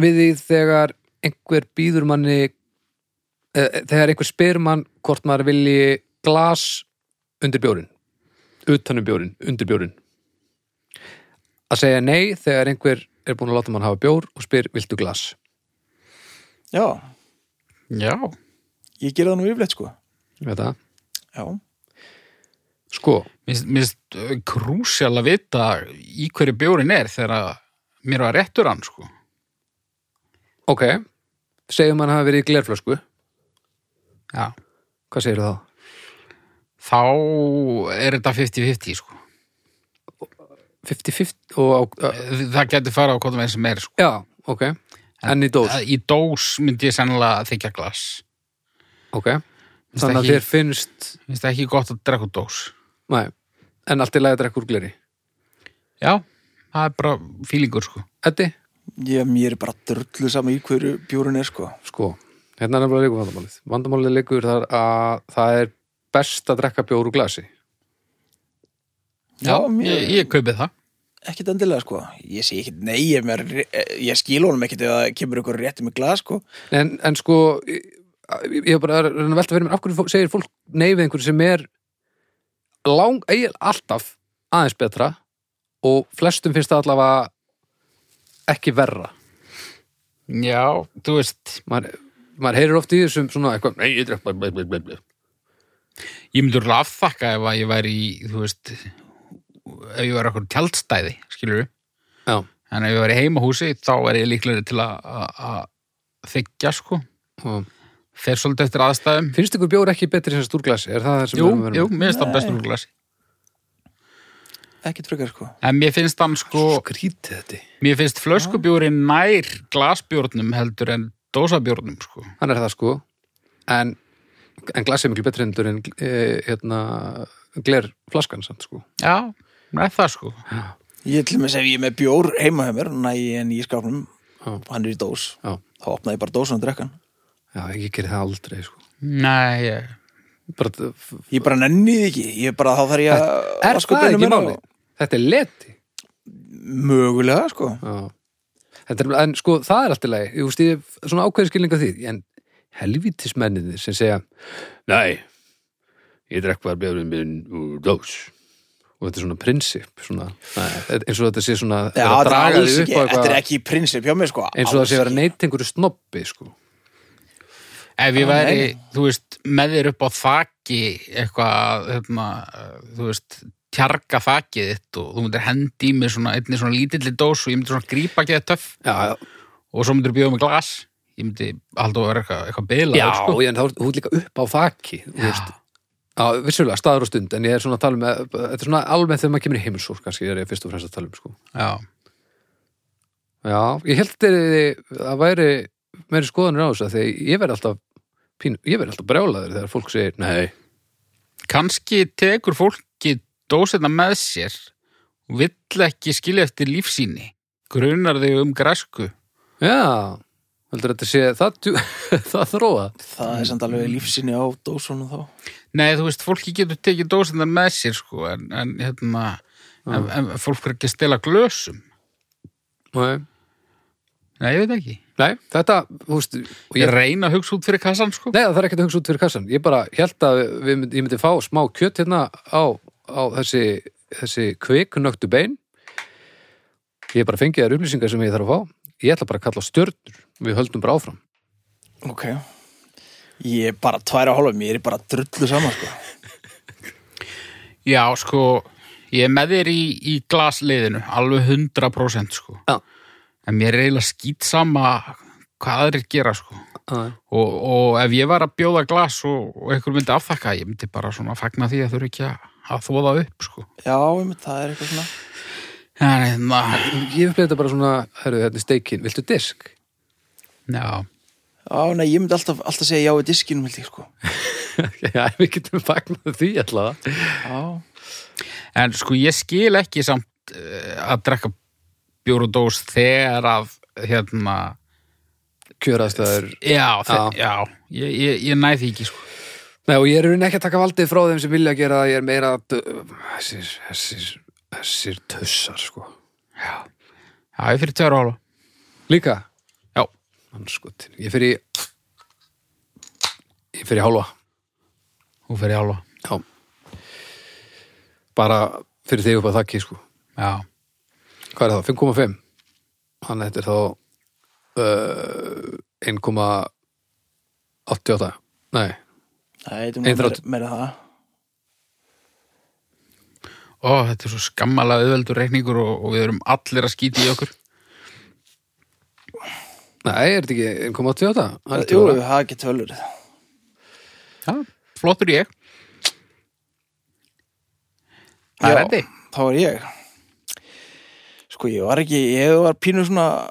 Speaker 2: við því þegar einhver býður manni uh, þegar einhver spyr mann hvort maður vilji glas undir bjórin utanum bjórin, undir bjórin að segja nei þegar einhver er búin að láta mann hafa bjór og spyr viltu glas
Speaker 3: já,
Speaker 1: já.
Speaker 3: ég gerði það nú yfirleitt sko
Speaker 2: Ég veit það.
Speaker 3: já,
Speaker 2: sko,
Speaker 1: Mér finnst uh, krúsjál að vita í hverju bjórin er þegar að mér var réttur hann, sko.
Speaker 2: ok segjum mann hafa verið í glerflösku
Speaker 1: Já.
Speaker 2: hvað segir þá?
Speaker 1: Þá er þetta 50-50, sko.
Speaker 2: 50-50 og á,
Speaker 1: Það getur fara á hvað það sem er, sko.
Speaker 2: já, ok enn í dós,
Speaker 1: Að Í dós myndi ég sennilega þykja glas.
Speaker 2: ok
Speaker 1: Finnst
Speaker 2: þannig að
Speaker 1: ekki-
Speaker 2: þér finnst
Speaker 1: Finnst það ekki gott að drekka úr dós?
Speaker 2: Nei, en allt í lagi að drekka úr gleri.
Speaker 1: Já, það er bara fílingur sko.
Speaker 2: Eddi?
Speaker 3: ég, mér er bara drullu sama í hverju bjórun er sko
Speaker 2: Sko, hérna er nefnilega leikur vandamálið. Vandamálið leikur þar að það er best að drekka bjór úr glasi.
Speaker 3: Já, mér-
Speaker 1: ég, ég kaupi það.
Speaker 3: ekkert endilega sko ég sé ekkert nei, ég, mér, ég skil honum ekkert ef það kemur ykkur rétti með glas sko
Speaker 2: En, en sko, ég, ég hef bara að reyna að velta fyrir mér, af hverju fó- segir fólk nei við einhverju sem er lang, eigin alltaf aðeins betra og flestum finnst það allavega ekki verra.
Speaker 1: Já, þú veist,
Speaker 2: Maður, maður heyrir oft í þessum svona eitthvað, nei, ég drekka bara blei, blei, blei.
Speaker 1: ég myndi alveg afþakka ef að ég væri í, þú veist, ef ég væri okkur tjaldstæði, skilur við.
Speaker 2: Já,
Speaker 1: En ef ég væri í heimahúsi, þá er ég líklegri til að- að að þykja sko.
Speaker 2: og
Speaker 1: Fer svolítið eftir aðstæðum.
Speaker 2: finnst ykkur bjór ekki betri sem stúr glasi? Er það það sem
Speaker 1: Jú,
Speaker 2: við erum að vera með?
Speaker 1: jú, mér finnst það
Speaker 3: Nei.
Speaker 1: bestur úr glasi.
Speaker 3: ekkert frekar sko
Speaker 1: En mér finnst hann sko,
Speaker 2: skrítið þetta
Speaker 1: mér finnst flöskubjóri nær glasbjórnum heldur en dósabjórnum sko.
Speaker 2: hann er það sko en, en glasið er miklu betri heldur en eh, hérna, gler flaskan samt sko
Speaker 1: Já, með það sko.
Speaker 3: Ég til með segja, ég er með bjór heima hjá mér, næ ég en í skapnum,
Speaker 2: Já.
Speaker 3: hann er í dós.
Speaker 2: Já.
Speaker 3: Þá opnaði ég bara dósun og drekkan.
Speaker 2: Já, ég gerir það aldrei sko
Speaker 1: Nei, ég...
Speaker 2: Bara, eh,
Speaker 3: Ég bara nenni því ekki, ég bara þá þarf ég að
Speaker 2: er það
Speaker 3: vaska upp
Speaker 2: ekki
Speaker 3: einu
Speaker 2: máli? Þetta er leti
Speaker 3: Mögulega, sko.
Speaker 2: Já. Þetta er, en sko, það er allt í lagi. Ég veist, ég hef svona ákveðin skilning á því. En helvítismenninir sem segja, nei, ég drekk bara björnum minn úr dós. Og þetta er svona prinsip, svona, nei, eins og þetta sé svona,
Speaker 3: Já,
Speaker 2: vera að
Speaker 3: þetta er
Speaker 2: draga
Speaker 3: alls
Speaker 2: því upp
Speaker 3: ekki,
Speaker 2: á
Speaker 3: þetta er
Speaker 2: eitthvað,
Speaker 3: ekki í prinsip hjá mér, sko.
Speaker 2: eins og það
Speaker 3: alls
Speaker 2: sé að vera
Speaker 3: ekki.
Speaker 2: neitt einhverju snobbi, sko.
Speaker 1: Ef ég
Speaker 2: Ah,
Speaker 3: Já,
Speaker 1: væri,
Speaker 3: nei.
Speaker 1: þú veist, með þér upp á þaki eitthvað, hérna, þú veist, tjarga þakið þitt og þú myndir hendi í mig svona, einni svona lítilli dós og ég myndir svona grípa ekki þetta töff
Speaker 2: Já, já,
Speaker 1: og svo myndir bjóða mig glas. Ég myndi halda að vera eitthvað, eitthvað bilað,
Speaker 2: já
Speaker 1: sko.
Speaker 2: en þá er hún líka upp á þakki, þú veist. Já, vissulega, staður og stund, en ég er svona að tala um, að- þetta er svona almennt þegar maður kemur í heimilsór, kannski, er ég fyrst og fremst að tala um, sko.
Speaker 1: Já.
Speaker 2: Já, ég held að það væri meiri skoðanir á þess að því ég verð alltaf pín, ég verð alltaf brjálaður þegar fólk segir nei,
Speaker 1: Kanski tekur fólki dósina með sér og vill ekki skilja eftir lífsýni. Grunar þig um græsku.
Speaker 2: já heldur þetta sé, það, djú, það þróa
Speaker 3: Það er samt
Speaker 2: Mm.
Speaker 3: alveg lífsinni á dósun og þá.
Speaker 1: Nei, þú veist, fólki getur tekið dósina með sér, sko, en, en hérna, en, en fólk er ekki að stela glösum.
Speaker 2: nei,
Speaker 1: Nei, ég veit ekki.
Speaker 2: nei, þetta, þú veist og
Speaker 1: Ég
Speaker 2: ég,
Speaker 1: reyna að hugsa út fyrir kassan, sko.
Speaker 2: nei, það er ekkert að hugsa út fyrir kassan ég bara held að við, mynd- ég myndi fá smá kjött hérna á, á þessi þessi kvikunöktu bein ég bara fengi þær upplýsingar sem ég þarf að fá ég ætla bara að kalla á stjörnur við höldum bara áfram
Speaker 3: Ok. Ég er bara tværa hálfum, ég er bara drullu saman, sko.
Speaker 1: Já, sko, ég er með þér í, í glasliðinu, alveg 100%, sko.
Speaker 2: Já.
Speaker 1: En mér er eiginlega skýt sama hvað aðrir gera, sko.
Speaker 2: Æ.
Speaker 1: Og, og ef ég var að bjóða glas og, og einhver myndi afþakka, ég myndi bara svona fagna því að þau eru ekki að, að þóða upp, sko. hérna,
Speaker 3: Já, einmitt, það er eitthvað svona.
Speaker 1: Nei, nei,
Speaker 2: Ég upplega þetta bara svona, herru, þetta er steikin, viltu disk?
Speaker 1: nei, já.
Speaker 3: Já, nei, ég myndi alltaf, alltaf segja já í diskinum, held ég, sko.
Speaker 2: Já, við getum fagnað því allavega.
Speaker 3: Já.
Speaker 1: En sko ég skil ekki samt eh, að drekka bjór og dós þegar að hérna,
Speaker 2: Kjöraðstæður.
Speaker 1: já, þe já, ég, ég, ég næði því ekki sko.
Speaker 2: Nei, og ég er í rauninni ekki að taka valdið frá þeim sem vilja gera það, ég er meira að, þessir, þessir, þessir tussar, sko.
Speaker 1: Já, ég fyrir tveir ára.
Speaker 2: Líka?
Speaker 1: Já,
Speaker 2: Mannskotin. Ég fyrir, ég fyrir hálfa.
Speaker 1: þú fyrir ára.
Speaker 2: Já. Bara fyrir þig upp að þakki, sko.
Speaker 1: Já,
Speaker 2: Hvað er það? 5,5? Þannig að þetta er þá uh, 1,88. Nei.
Speaker 3: Nei, þetta er nú
Speaker 2: Einþrótt.
Speaker 3: meira- meira það.
Speaker 1: ó, þetta er svo skammalega auðveldur reikningur og, og við erum allir að skýti í okkur.
Speaker 2: Nei, er þetta ekki 1,88? Það er
Speaker 3: Jú,
Speaker 2: tjóra.
Speaker 3: það er ekki tölur.
Speaker 1: Já, flottur ég. Það er
Speaker 3: Já,
Speaker 1: endi.
Speaker 3: Þá er ég. Sko, ég var ekki, ég var pínu svona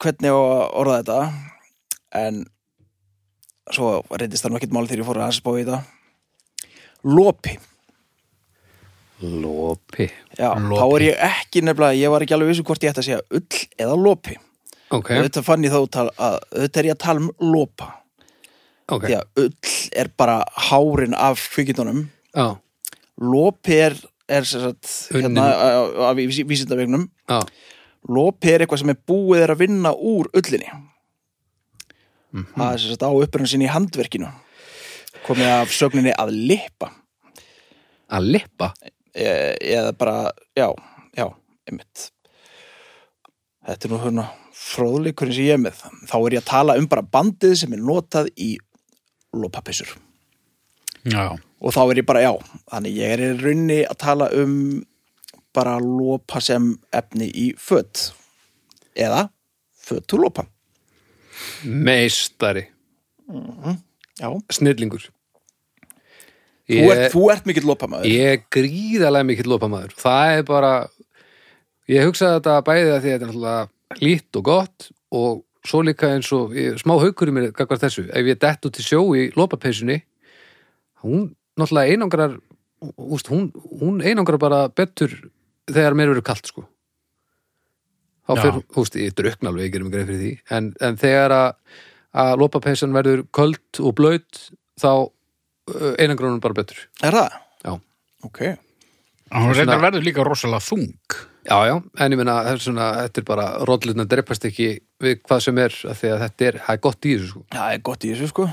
Speaker 3: hvernig á að orða þetta, en svo reyndist það nú ekkert máli þegar ég fór að spá í þetta. Lopi.
Speaker 2: Lopi.
Speaker 3: Já,
Speaker 1: Lopi.
Speaker 3: þá er ég ekki nefnilega, ég var ekki alveg vissu hvort ég ætti að segja ull eða lopi.
Speaker 2: Ok,
Speaker 3: Auðvitað fann ég þá út að, að auðvitað er ég að tala um lopa.
Speaker 2: ok.
Speaker 3: Því að ull er bara hárin af kvikindunum.
Speaker 2: Já,
Speaker 3: Lopi er, er sem sagt,
Speaker 2: Unnin.
Speaker 3: hérna, á- á- á vísi- vísindavegnum.
Speaker 2: já.
Speaker 3: Lopi er eitthvað sem er búið er að vinna úr ullinni. Það er sem sagt á upprunum sinni í handverkinu. Komið af sögninni að lippa.
Speaker 2: Að lippa.
Speaker 3: E eða bara, já, já, einmitt. Þetta er nú hérna fróðleikurinn sem ég er með. Þá er ég að tala um bara bandið sem er notað í lopapissur.
Speaker 1: Já,
Speaker 3: Og þá er ég bara, já, þannig ég er í raunni að tala um bara lopa sem efni í fött. Eða föttulopa.
Speaker 2: Meistari.
Speaker 3: Já.
Speaker 2: Snillingur.
Speaker 3: Þú ert, þú ert mikill lopamaður.
Speaker 2: Ég er gríðarlega mikill lopamaður. Það er bara, ég hugsaði þetta bæði að því að þetta er náttúrulega lít og gott og svo líka eins og ég, smá haukur í mér gagvar þessu, ef ég dett út í sjó í lopapeysunni hún náttúrulega einangrar úst, hún, hún einangrar bara betur þegar mér verður kalt sko þá
Speaker 1: Já.
Speaker 2: fyrir, þú veist, ég drukna alveg, ég gerum greið fyrir því en, en þegar að, að lopapeysan verður köld og blöyt þá uh, einangrar hún bara betur
Speaker 3: Er það?
Speaker 2: Já.
Speaker 3: Ok.
Speaker 1: Hún
Speaker 2: Svona-
Speaker 1: reyndar verður líka rosalega þung.
Speaker 2: Já, já, en ég meina, þetta er svona, þetta er bara, rollutna dreipast ekki við hvað sem er, af því að þetta er, það er gott í þessu, sko.
Speaker 3: Það er gott í þessu, sko.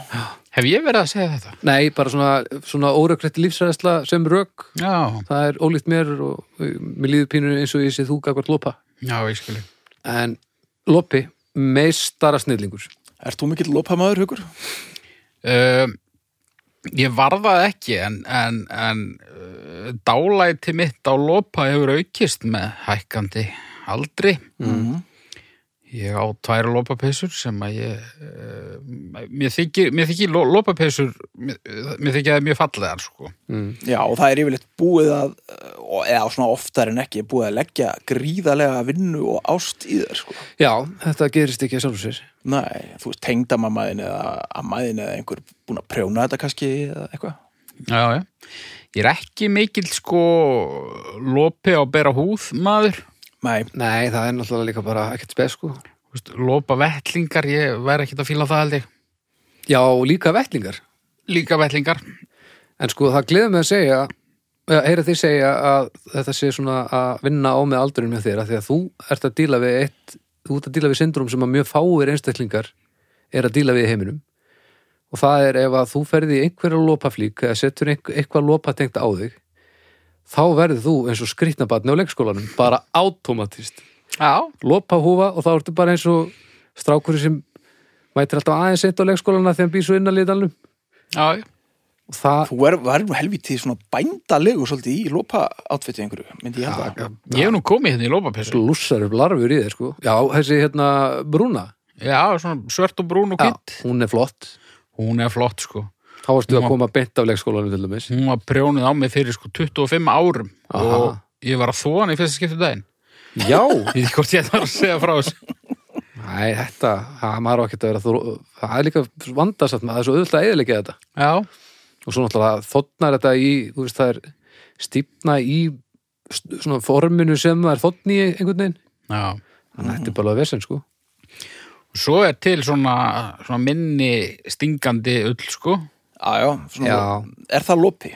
Speaker 1: Hef ég verið að segja þetta?
Speaker 2: Nei, bara svona, svona órökrætti lífsræðsla sem rök,
Speaker 1: Já,
Speaker 2: það er ólíkt mér og uh, mér líður pínur eins og ég sé þú gagvart lopa.
Speaker 1: já, ég skilji.
Speaker 2: En lopi, meistara snillingur.
Speaker 3: Ert þú mikill lopamaður, Hugur?
Speaker 1: Uh, ég varðaði ekki en, en, en uh, dálæti mitt á lopa hefur aukist með hækkandi aldri. Mhm.
Speaker 3: Mm.
Speaker 1: Ég á tvær lopapessur sem að ég, uh, mér þykir, mér þykir lo, lopapessur, mér, mér þykir það mjög fallegar sko.
Speaker 3: Já, og það er yfirleitt búið að, eh, og- eða svona oftar en ekki, búið að leggja gríðarlega vinnu og ást í þér, sko.
Speaker 2: Já, þetta gerist ekki að sjálfum sér.
Speaker 3: Nei, þú veist, tengdamammaðin eða ammaðin eða einhver búin að prjóna þetta kannski eða eitthvað.
Speaker 1: Já, já. Ég er ekki mikill sko lopi á bera húð maður.
Speaker 3: Nei,
Speaker 2: Nei, það er náttúrulega líka bara ekkert spes, sko.
Speaker 1: Þú veist, Lopa vettlingar, ég væri ekkert að fíla það held ég.
Speaker 2: Já, og líka vettlingar.
Speaker 1: Líka vettlingar.
Speaker 2: En sko, það gleður mig að segja eða heyra þið segja að þetta sé svona að vinna á með aldurinn með þér af því að þú ert að díla við eitt þú ert að díla við syndrom sem að mjög fáir einstaklingar er að díla við í heiminum og það er ef að þú ferði einhverja lopaflík eða setur einhver, eitthvað lopatengt á þig þá verður þú eins og skrýtnabatni á leikskólanum bara automatist
Speaker 1: Já,
Speaker 2: lopahúfa og þá ertu bara eins og strákurinn sem mætir alltaf aðeins eitt á leikskólana þegar hann býr svo innan liðanlum
Speaker 1: já, já.
Speaker 2: og það
Speaker 3: þú er, það er nú helvítið svona bændalegu svolítið í lopa átfitið einhverju, myndi ég held að.
Speaker 1: Ég hef nú komið hérna í lopapessu.
Speaker 2: lússar upp larfur í þeir sko já, þessi hérna brúna
Speaker 1: Já, svona svört og brún og
Speaker 2: já,
Speaker 1: kvitt.
Speaker 2: hún er flott
Speaker 1: Hún er flott sko.
Speaker 2: þá varstu að
Speaker 1: Já.
Speaker 2: koma beint af leikskólanum til dæmis
Speaker 1: Hún var prjónuð á mig fyrir sko 25 árum
Speaker 2: Aha.
Speaker 1: og ég var að þóa hann í fyrsta skiptu daginn.
Speaker 2: já,
Speaker 1: Ég veit ekki hvort ég þarf að segja frá þessu.
Speaker 2: næ, þetta það maður á ekki að vera þró- það er líka vandasatt maður, það er svo auðvitað að eðilegja þetta
Speaker 1: Já,
Speaker 2: og svo náttúrulega þotnar þetta í þú veist, það er stífna í st- svona forminu sem það er þotn í einhvern veginn
Speaker 1: já.
Speaker 2: þannig að þetta er bara alveg vesen sko
Speaker 1: Svo er til svona, svona minni stingandi ull sko.
Speaker 3: Já, já, svona,
Speaker 2: Já.
Speaker 3: er það lopi?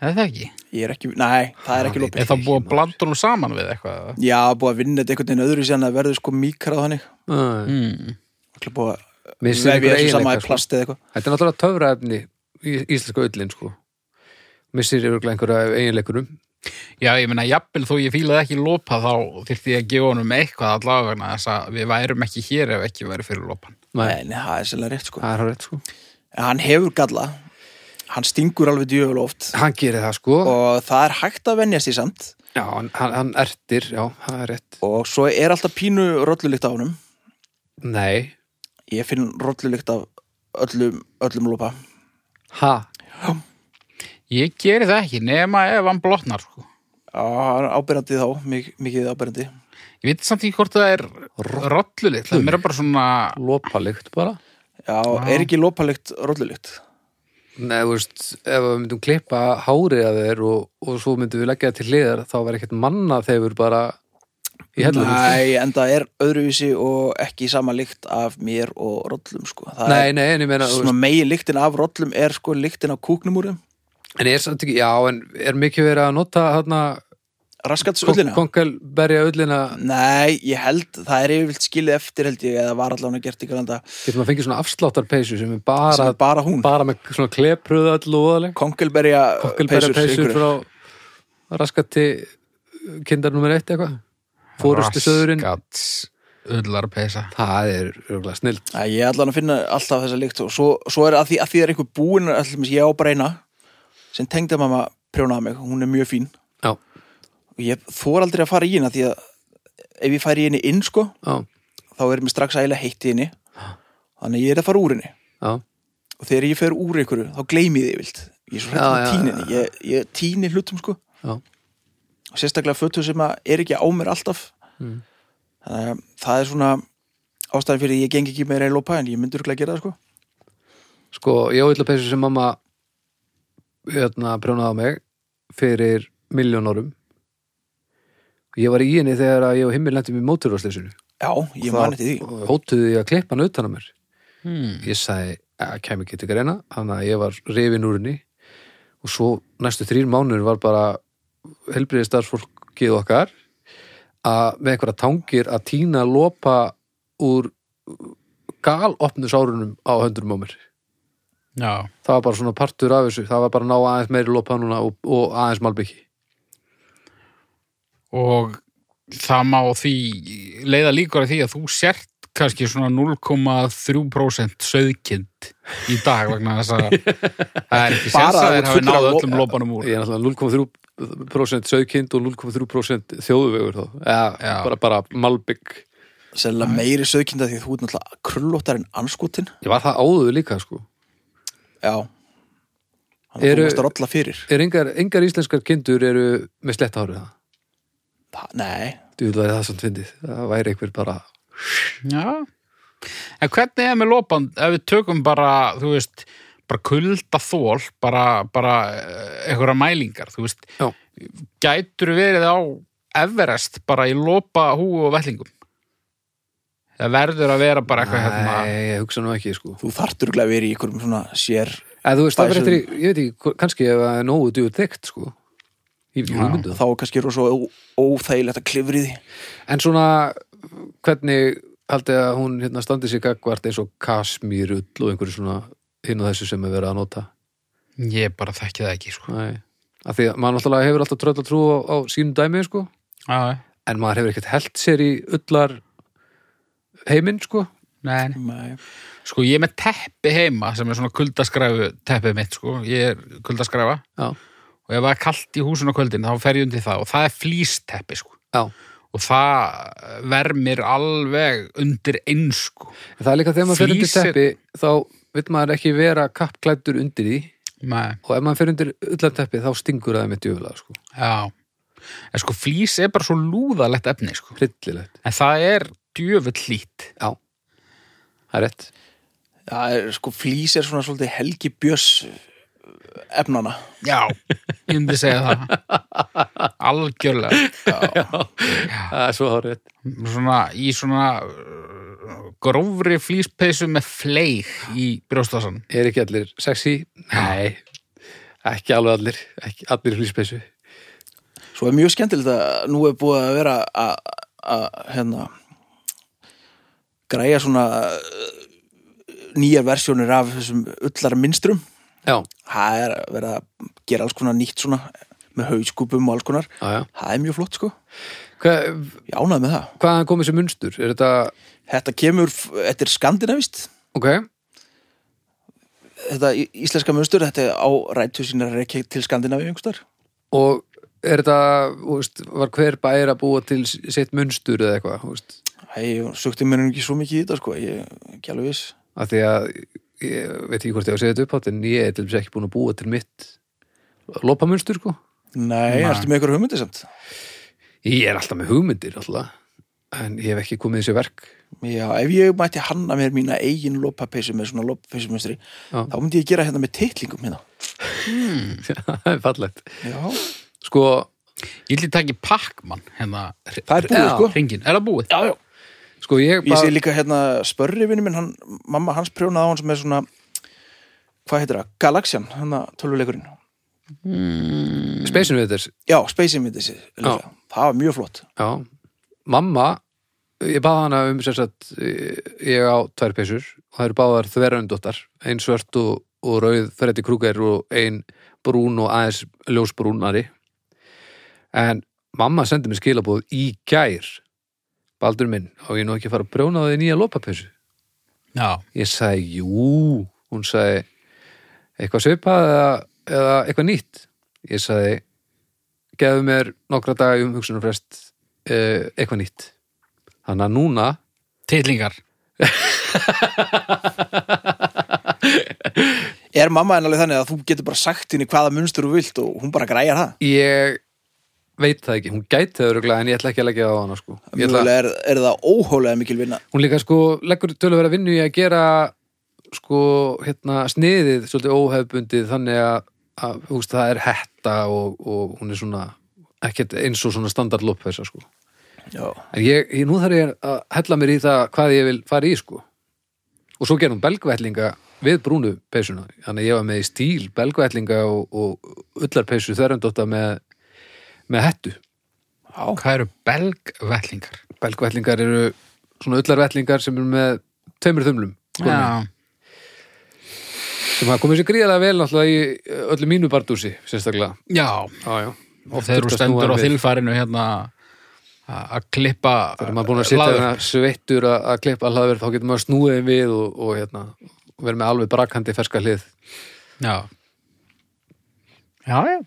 Speaker 1: Er það ekki?
Speaker 3: Ég er ekki, nei, það er ekki
Speaker 1: Ah, Er
Speaker 3: lopi.
Speaker 1: það búið að blanda hún saman við eitthvað? eða?
Speaker 3: Já, búið að vinna þetta einhvern veginn öðru síðan að verður sko míkrað þannig.
Speaker 2: mm.
Speaker 1: Mm.
Speaker 3: Það búið að
Speaker 2: Missir
Speaker 3: vefja
Speaker 2: einhverja
Speaker 3: þessu saman
Speaker 2: eiginleika,
Speaker 3: í
Speaker 2: sko.
Speaker 3: plast eða eitthvað.
Speaker 2: Þetta er náttúrulega töfraefni í íslenska öllin sko. Missir yfirlega einhverja eiginleikunum.
Speaker 1: Já, ég meina, jafnvel þó ég fílaði ekki lopa þá þyrfti ég að gefa honum eitthvað allavega þess að við værum ekki hér ef ekki væri fyrir lopan.
Speaker 2: Nei,
Speaker 3: Nei, nei, það er sérlega rétt sko.
Speaker 2: það er hann rétt sko.
Speaker 3: En hann hefur galla, hann stingur alveg djöful oft
Speaker 2: Hann gerir það sko.
Speaker 3: og það er hægt að venjast í samt
Speaker 2: Já, hann, hann- hann ertir, já, það er rétt.
Speaker 3: og svo er alltaf pínu rollulikt á honum.
Speaker 2: Nei,
Speaker 3: Ég finn rollulikt af öllum, öllum lopa.
Speaker 2: ha,
Speaker 1: Ég geri það ekki nema ef hann blotnar, sko.
Speaker 3: Já, hann er ábyrjandi þá, mik mikið ábyrjandi.
Speaker 1: Ég veit samt ekki hvort það er rollulegt, það er mér bara svona,
Speaker 2: lopalikt bara.
Speaker 3: Já, er ekki lopalikt rollulikt?
Speaker 2: Nei, þú veist, ef við myndum klippa hárið að þeir og, og svo myndum við leggja það til hliðar, þá verður ekkert manna þegar bara í hellum.
Speaker 3: Nei, en það er öðruvísi og ekki sama lykt af mér og rollum sko. Það
Speaker 2: nei, nei, en ég
Speaker 3: er
Speaker 2: meina, þú
Speaker 3: svona
Speaker 2: veist,
Speaker 3: megi lyktin af rollum er sko lyktin af kúknum úr þeim.
Speaker 2: en er samt ekki, já, en er mikið verið að nota hérna
Speaker 3: Raskatsullina?
Speaker 2: kongelberja öllina,
Speaker 3: Nei, ég held, það er yfirvilt skilið eftir held ég, eða var allan að gert í galanda
Speaker 2: getur maður fengið svona afsláttarpeysu sem er bara
Speaker 3: sem er bara hún,
Speaker 2: bara með svona klepruð öll og oðaleg
Speaker 3: konkelberja
Speaker 2: kokkelberja peysur frá raskati kindar nummer eitt eitthvað fórustu söðurinn
Speaker 1: raskats, ullar peysa.
Speaker 2: það er röglega snilt
Speaker 3: Æ, Ég er allan að finna alltaf þessa lykt og svo, svo er að því að því er einhver búin allir mér, ég á bara eina sem tengdamamma prjónaði mig, hún er mjög fín
Speaker 2: já,
Speaker 3: og ég þor aldrei að fara í hérna því að ef ég færi í henni inn sko
Speaker 2: já,
Speaker 3: þá er mér strax ægilega heitt í henni þannig að ég er að fara úr henni
Speaker 2: já,
Speaker 3: og þegar ég fer úr einhverju þá gleymi ég því vilt ég er svo hrætt
Speaker 2: Já,
Speaker 3: að
Speaker 2: já,
Speaker 3: týna
Speaker 2: já.
Speaker 3: henni ég, ég týni hlutum sko
Speaker 2: já.
Speaker 3: og
Speaker 2: Mm.
Speaker 3: sérstaklega fötu sem að er ekki á mér alltaf þannig að það er svona ástæðan fyrir því ég geng ekki meira í lópa en ég myndi örgulega að gera það sko
Speaker 2: Sko, ég á illa peysu sem mamma hérna, prjónaði á mig fyrir miljón árum. Ég var í henni þegar að ég og himmil lentum í móturvarsleysinu.
Speaker 3: Já, ég man eftir því
Speaker 2: Hótuði ég að klippa hann utan að mér.
Speaker 1: Hmm.
Speaker 2: Ég sagði, að kæmi ekki til greina, þannig að ég var rifin úr henni og svo næstu þrýr mánur var bara helbriði starfsfólkið okkar að með einhverja tangir að tína lopa úr galopnus árunum á höndurum á mér.
Speaker 1: Já,
Speaker 2: það var bara svona partur af þessu það var bara að ná aðeins meiri lopa núna og, og aðeins malbyggi
Speaker 1: og það má því leiða líkur að því að þú sért kannski svona 0,3% söðkind í dag vegna þess að það er ekki
Speaker 3: Bara
Speaker 1: sérs að
Speaker 3: að
Speaker 1: þeir
Speaker 3: þú
Speaker 1: hafi náð
Speaker 3: fullra-
Speaker 1: öllum lopanum úr
Speaker 2: ég er náttúrulega 0,3% söðkind og 0,3% þjóðuvegur þá eða
Speaker 1: Já.
Speaker 2: bara, bara malbygg
Speaker 3: Sérlega meiri söðkynda því þú ert náttúrulega krullóttar en anskotin
Speaker 2: ég var það áður líka sko
Speaker 3: Já Þannig að
Speaker 2: Eru-
Speaker 3: þú mást að rolla fyrir
Speaker 2: er engar, engar íslenskar kindur eru með sletta hárið það
Speaker 3: Það- Nei,
Speaker 2: þú vil væri það samt fyndið það væri einhver bara
Speaker 1: Já. En hvernig er með lopan, ef við tökum bara, þú veist, bara kulda þól, bara, bara eh, einhverja mælingar, þú veist,
Speaker 2: Já.
Speaker 1: gætur verið á Everest bara í lopa húu og vellingum? Það verður að vera bara eitthvað hérna.
Speaker 2: nei, ég hugsa nú ekki sko
Speaker 3: þú þarft örgulega að vera í einhverjum svona sér
Speaker 2: eða þú veist, það
Speaker 3: Bæsum.
Speaker 2: verður eftir, í- ég veit ekki kannski ef það er nógu djúið þykkt sko ég veit
Speaker 1: Já.
Speaker 2: ekki hugmyndu
Speaker 3: þá er kannski rosa ó- óþægilegt að klifri því
Speaker 2: En svona, hvernig haldið að hún hérna standi sér gagvart eins og kasmírull og einhverju svona hinn og þessu sem er verið að nota?
Speaker 1: Ég bara þekki það ekki, sko.
Speaker 2: Nei. Af því að maður náttúrulega hefur alltaf tröll að trú á, á sínum dæmi, sko.
Speaker 1: Já,
Speaker 2: En maður hefur ekkert held sér í ullar heiminn, sko.
Speaker 1: nei.
Speaker 3: Nei.
Speaker 1: Sko, ég er með teppi heima sem er svona kuldaskræfu teppið mitt, sko. Ég er kuldaskræfa
Speaker 2: Já.
Speaker 1: og ef það er kalt í húsun á kvöldin þá fer ég undir það og það er flýsteppi, sko.
Speaker 2: Já.
Speaker 1: og það eh, vermir alveg undir einsku
Speaker 2: En það er líka þegar maður fyrir undir
Speaker 1: Flísir-
Speaker 2: teppi, þá vil maður ekki vera kappklættur undir því.
Speaker 1: Nei,
Speaker 2: Og ef maður fyrir undir ullar teppi, þá stingur það með djöfulega, sko.
Speaker 1: já en sko flís er bara svo lúðalegt efni sko.
Speaker 2: Hryllilegt.
Speaker 1: en það er djöfull lít
Speaker 2: Það er rétt.
Speaker 3: Það er sko flýs er svona svolítið helgi björs efnana
Speaker 1: já, ég myndi segja það algjörlega já.
Speaker 2: Það er svo hár rétt.
Speaker 1: Svona, í svona uh, grófri flíspeysu með fleig í brjóstasann
Speaker 2: er ekki allir sexy? Nei, ekki alveg allir, ekki allir flýspessu.
Speaker 3: Svo er mjög skemmtilegt að nú er búið að vera að að, hérna græja svona eh, nýjar versjónir af þessum ullar minnstrum
Speaker 2: Já,
Speaker 3: það er að vera að gera alls konar nýtt svona með hauskúpum og alls konar
Speaker 2: já, já.
Speaker 3: það er mjög flott sko,
Speaker 2: Hva,
Speaker 3: ég ánaði með það
Speaker 2: hvaðan komið sem munstur? Er þetta,
Speaker 3: þetta kemur, f- þetta er skandinavist
Speaker 2: ok,
Speaker 3: þetta í- íslenska munstur, þetta er á rættu sínar rekja til skandinavi yngstar
Speaker 2: og er þetta, þú veist, var hver bæri að búa til sitt munstur eða eitthvað, þú veist?
Speaker 3: ég sökti mér nú ekki svo mikið í þetta sko, ég er ekki alveg viss
Speaker 2: Af því að, ég veit ekki hvort ég á að segja þetta upphátt, en ég er til þess ekki búin að búa til mitt lopamunstur, sko.
Speaker 3: Nei,
Speaker 1: Nei.
Speaker 3: ertu með ykkur hugmyndi samt?
Speaker 2: Ég er alltaf með hugmyndir, alltaf, en ég hef ekki komið þessi verk.
Speaker 3: Já, ef ég mætti hanna mér mína eigin lopapeysu með svona lopapeysumönstri
Speaker 2: Já.
Speaker 3: þá myndi ég gera hérna með titlingum hérna
Speaker 2: Það er fallegt.
Speaker 3: Já,
Speaker 2: Sko,
Speaker 1: ég ætli takk í Pac-Man hérna,
Speaker 3: það er búið
Speaker 2: Já.
Speaker 3: sko
Speaker 1: hringin, er það búið?
Speaker 3: Já, já
Speaker 2: sko, ég
Speaker 3: Ég sé líka hérna spörrifinu minn, hann, mamma hans prjónaði á hans með svona hvað heitir það, Galaxian, hann að tölvuleikurinn
Speaker 2: spesinu við þess,
Speaker 3: Já, Space Invaders líka.
Speaker 2: Já.
Speaker 3: það var mjög flott
Speaker 2: Já, mamma ég baða hana um sem sagt eh, ég á tvær peysur og það eru báðar þveröndóttar, ein svört og, og rauð Freddy Krueger og ein brún og aðeins ljósbrúnari en mamma sendi mér skilabóð í gær Baldur minn, og ég nú ekki að fara að brjóna á því nýja lopapeysu
Speaker 1: já,
Speaker 2: ég sagði, jú hún sagði, eitthvað svipað eða, eða eitthvað nýtt ég sagði, gefðu mér nokkra daga um hugsunarfrest eh, eitthvað nýtt þannig að núna
Speaker 1: titlingar
Speaker 3: Er mamma henni alveg þannig að þú getur bara sagt henni hvaða munstur þú vilt og hún bara græjar það?
Speaker 2: ég veit það ekki, hún gæti það öruglega en ég ætla ekki að leggja það á hana sko Ég ætla,
Speaker 3: Mjögulega er, er það óhólega mikil vinna
Speaker 2: hún líka sko leggur töluverða vinnu í að gera sko hérna sniðið svolítið óhefbundið þannig að, að þú veist, það er hetta og, og hún er svona ekkert eins og svona standard lopphesa sko
Speaker 3: Já,
Speaker 2: en ég, ég, nú þarf ég að hella mér í það hvað ég vil fara í sko og svo gerum belgvætlinga við brúnu peysuna þannig að ég var með í stíl belgvætlinga og, og ullarpeysu þverjandótt með, með hettu
Speaker 1: Hvað eru belgvellingar?
Speaker 2: belgvætlingar eru svona ullarvætlingar sem eru með tveimur þumlum sko,
Speaker 1: Já,
Speaker 2: sem hafa komið sér gríðarlega vel náttúrulega í eh, öllu mínu bardúsi sérstaklega
Speaker 1: já
Speaker 2: já, já.
Speaker 1: og þegar þú stendur á þilfærinu hérna a- að klippa
Speaker 2: þegar maður er búin að setja
Speaker 1: laður.
Speaker 2: hérna sveittur að að klippa hlaðverð þá getur maður snúið þeim við og, og hérna, og verið með alveg brakandi ferska hlið
Speaker 1: Já, já, já.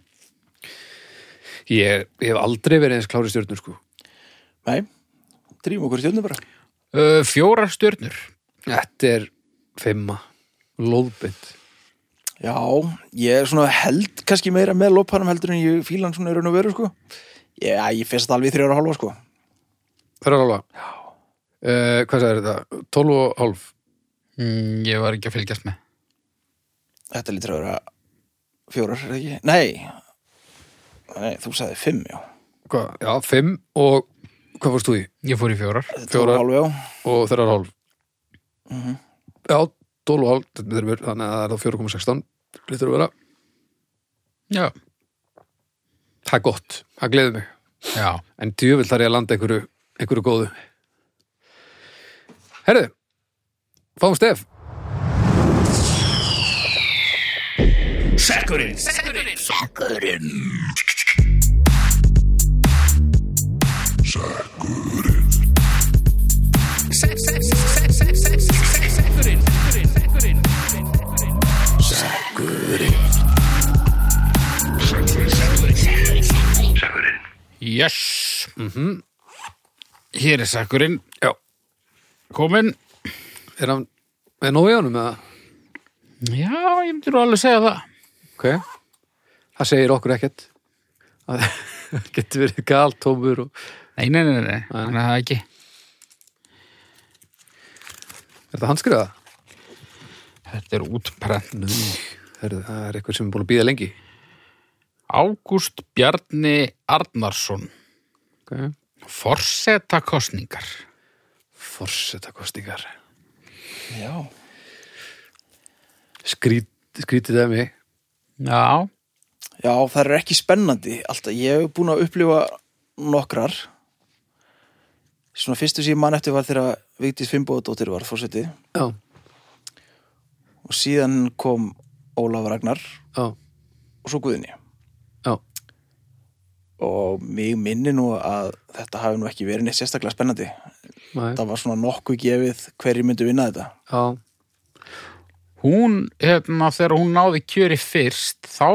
Speaker 2: ég, ég hef aldrei verið eins klári stjórnur sko
Speaker 3: nei, drýjum okkur í stjórnum bara
Speaker 1: Uh, Fjórar stjörnur
Speaker 2: þetta er femma lóðbind
Speaker 3: Já, ég er svona held kannski meira með loppanum heldur en ég fíla hann svona í raun og veru sko Já, ég finnst þetta alveg í þrjára hálfa sko
Speaker 2: það er alveg uh, Eh, hvað sagði þetta? 12 og hálf
Speaker 1: mm, Ég var ekki að fylgjast með
Speaker 3: Þetta lítur að vera fjórar, er það ekki? Nei, nei, þú sagði fimm, já
Speaker 2: hvað? já, 5 og hvað fórst þú í?
Speaker 1: Ég fór í fjórar
Speaker 3: Fjórar
Speaker 2: Fjórar.
Speaker 3: hálfa,
Speaker 2: og þeirra hálf já, 12 og hálf þetta er þremur, þannig að það er þá 4,16 lítur að vera,
Speaker 1: Já,
Speaker 2: það er gott það gleður mig,
Speaker 1: já
Speaker 2: en djöfull þar ég að landa einhverju, einhverju góðu herðu fáum stef
Speaker 1: Yes
Speaker 2: Mhm.
Speaker 1: Hér er sakkurinn
Speaker 2: já,
Speaker 1: komin
Speaker 2: er hann er nóg í honum eða?
Speaker 1: Já, ég myndi nú alveg segja það
Speaker 2: ok, það segir okkur ekkert það getur verið galtómur og
Speaker 1: Nei, nei, nei, nei, hann er það ekki
Speaker 2: er það handskriða?
Speaker 1: Þetta er útprent
Speaker 2: Herðu, það er eitthvað sem er búin að býða lengi
Speaker 1: Ágúst Bjarni Arnarsson
Speaker 2: ok,
Speaker 1: Forseta kostningar
Speaker 2: forsetakostingar
Speaker 3: já Já,
Speaker 2: Skrít, skrítið það mig
Speaker 1: Já,
Speaker 3: já það er ekki spennandi alltaf Ég hef búin að upplifa nokkrar Svona fyrstu sem ég man eftir var þegar Vigdís Fimboðdóttir var fórsetið
Speaker 2: já,
Speaker 3: og síðan kom Ólaf Ragnar
Speaker 2: já,
Speaker 3: og svo Guðni
Speaker 2: já
Speaker 3: og mig minni nú að þetta hafi nú ekki verið neitt sérstaklega spennandi
Speaker 2: Nei,
Speaker 3: það var svona nokkuð gefið hverju myndu vinna þetta
Speaker 2: já,
Speaker 1: hún, hérna, þegar hún náði kjöri fyrst, þá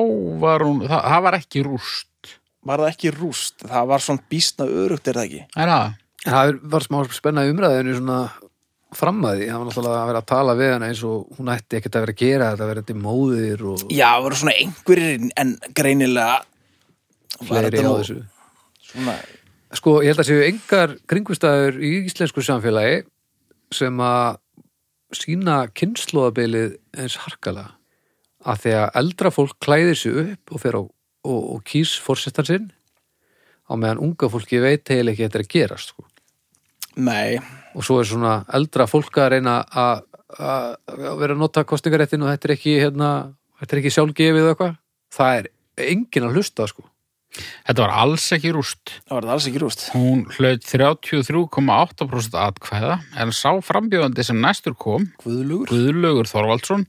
Speaker 1: var hún, það, það var ekki rúst.
Speaker 3: var það ekki rúst, það var svona býstna örugt er það ekki
Speaker 1: Er það?
Speaker 2: En það er- var smá spenna í umræðinu svona fram að því, það var náttúrulega að vera að tala við hana eins og hún ætti ekkert að vera að gera þetta verið þetta móðir og
Speaker 3: já, það voru svona einhverjir en greinilega var
Speaker 2: fleiri
Speaker 3: þetta
Speaker 2: á
Speaker 3: nú
Speaker 2: þessu
Speaker 3: svona
Speaker 2: Sko, ég held að séu engar kringustæður í íslensku samfélagi sem að sína kynnslóðabilið eins harkalega að því að eldra fólk klæðir sig upp og fer á og, og kýs fórsetan sinn á meðan unga fólki veit heil ekki þetta er að gerast sko.
Speaker 3: nei,
Speaker 2: og svo er svona eldra fólk að reyna að að- að vera að nota kostningaréttin og þetta er ekki, hérna, þetta er ekki sjálfgefið eða eitthvað það er engin að hlusta sko.
Speaker 1: Þetta var alls ekki rúst.
Speaker 3: það var það alls ekki rúst
Speaker 1: Hún hlaut 33,8% atkvæða, en sá frambjöðandi sem næstur kom,
Speaker 3: Guðlugur?
Speaker 1: Guðlaugur Þorvaldsson,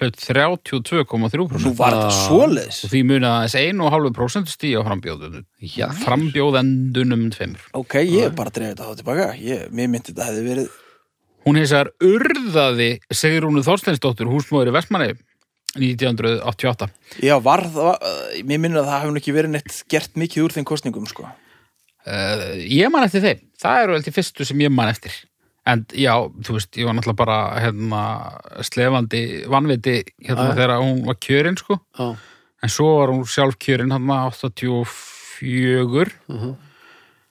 Speaker 1: hlaut 32,3%.
Speaker 3: nú var
Speaker 2: Ah.
Speaker 3: þetta svoleiðis
Speaker 1: Og því munið aðeins 1,5% stíja á frambjóðunum.
Speaker 2: Já.
Speaker 1: Frambjóðendunum tveimur.
Speaker 3: ok, ég er bara að drefa þetta þá tilbaka ég, mér myndi þetta hefði verið
Speaker 1: Hún hins vegar urðaði Sigrúnu Þorsteinsdóttur, húsmóður í Vestmanni 1988.
Speaker 3: já, var það, mér myndi að það hefði nú ekki verið neitt gert mikið úr þeim kostningum sko
Speaker 1: Uh, ég man eftir þeim, það eru eftir fyrstu sem ég man eftir en já, þú veist, ég var náttúrulega bara hérna, slefandi vannviti hérna, þegar hún var kjörin sko.
Speaker 2: Já,
Speaker 1: en svo var hún sjálf kjörin hann 84 fjögur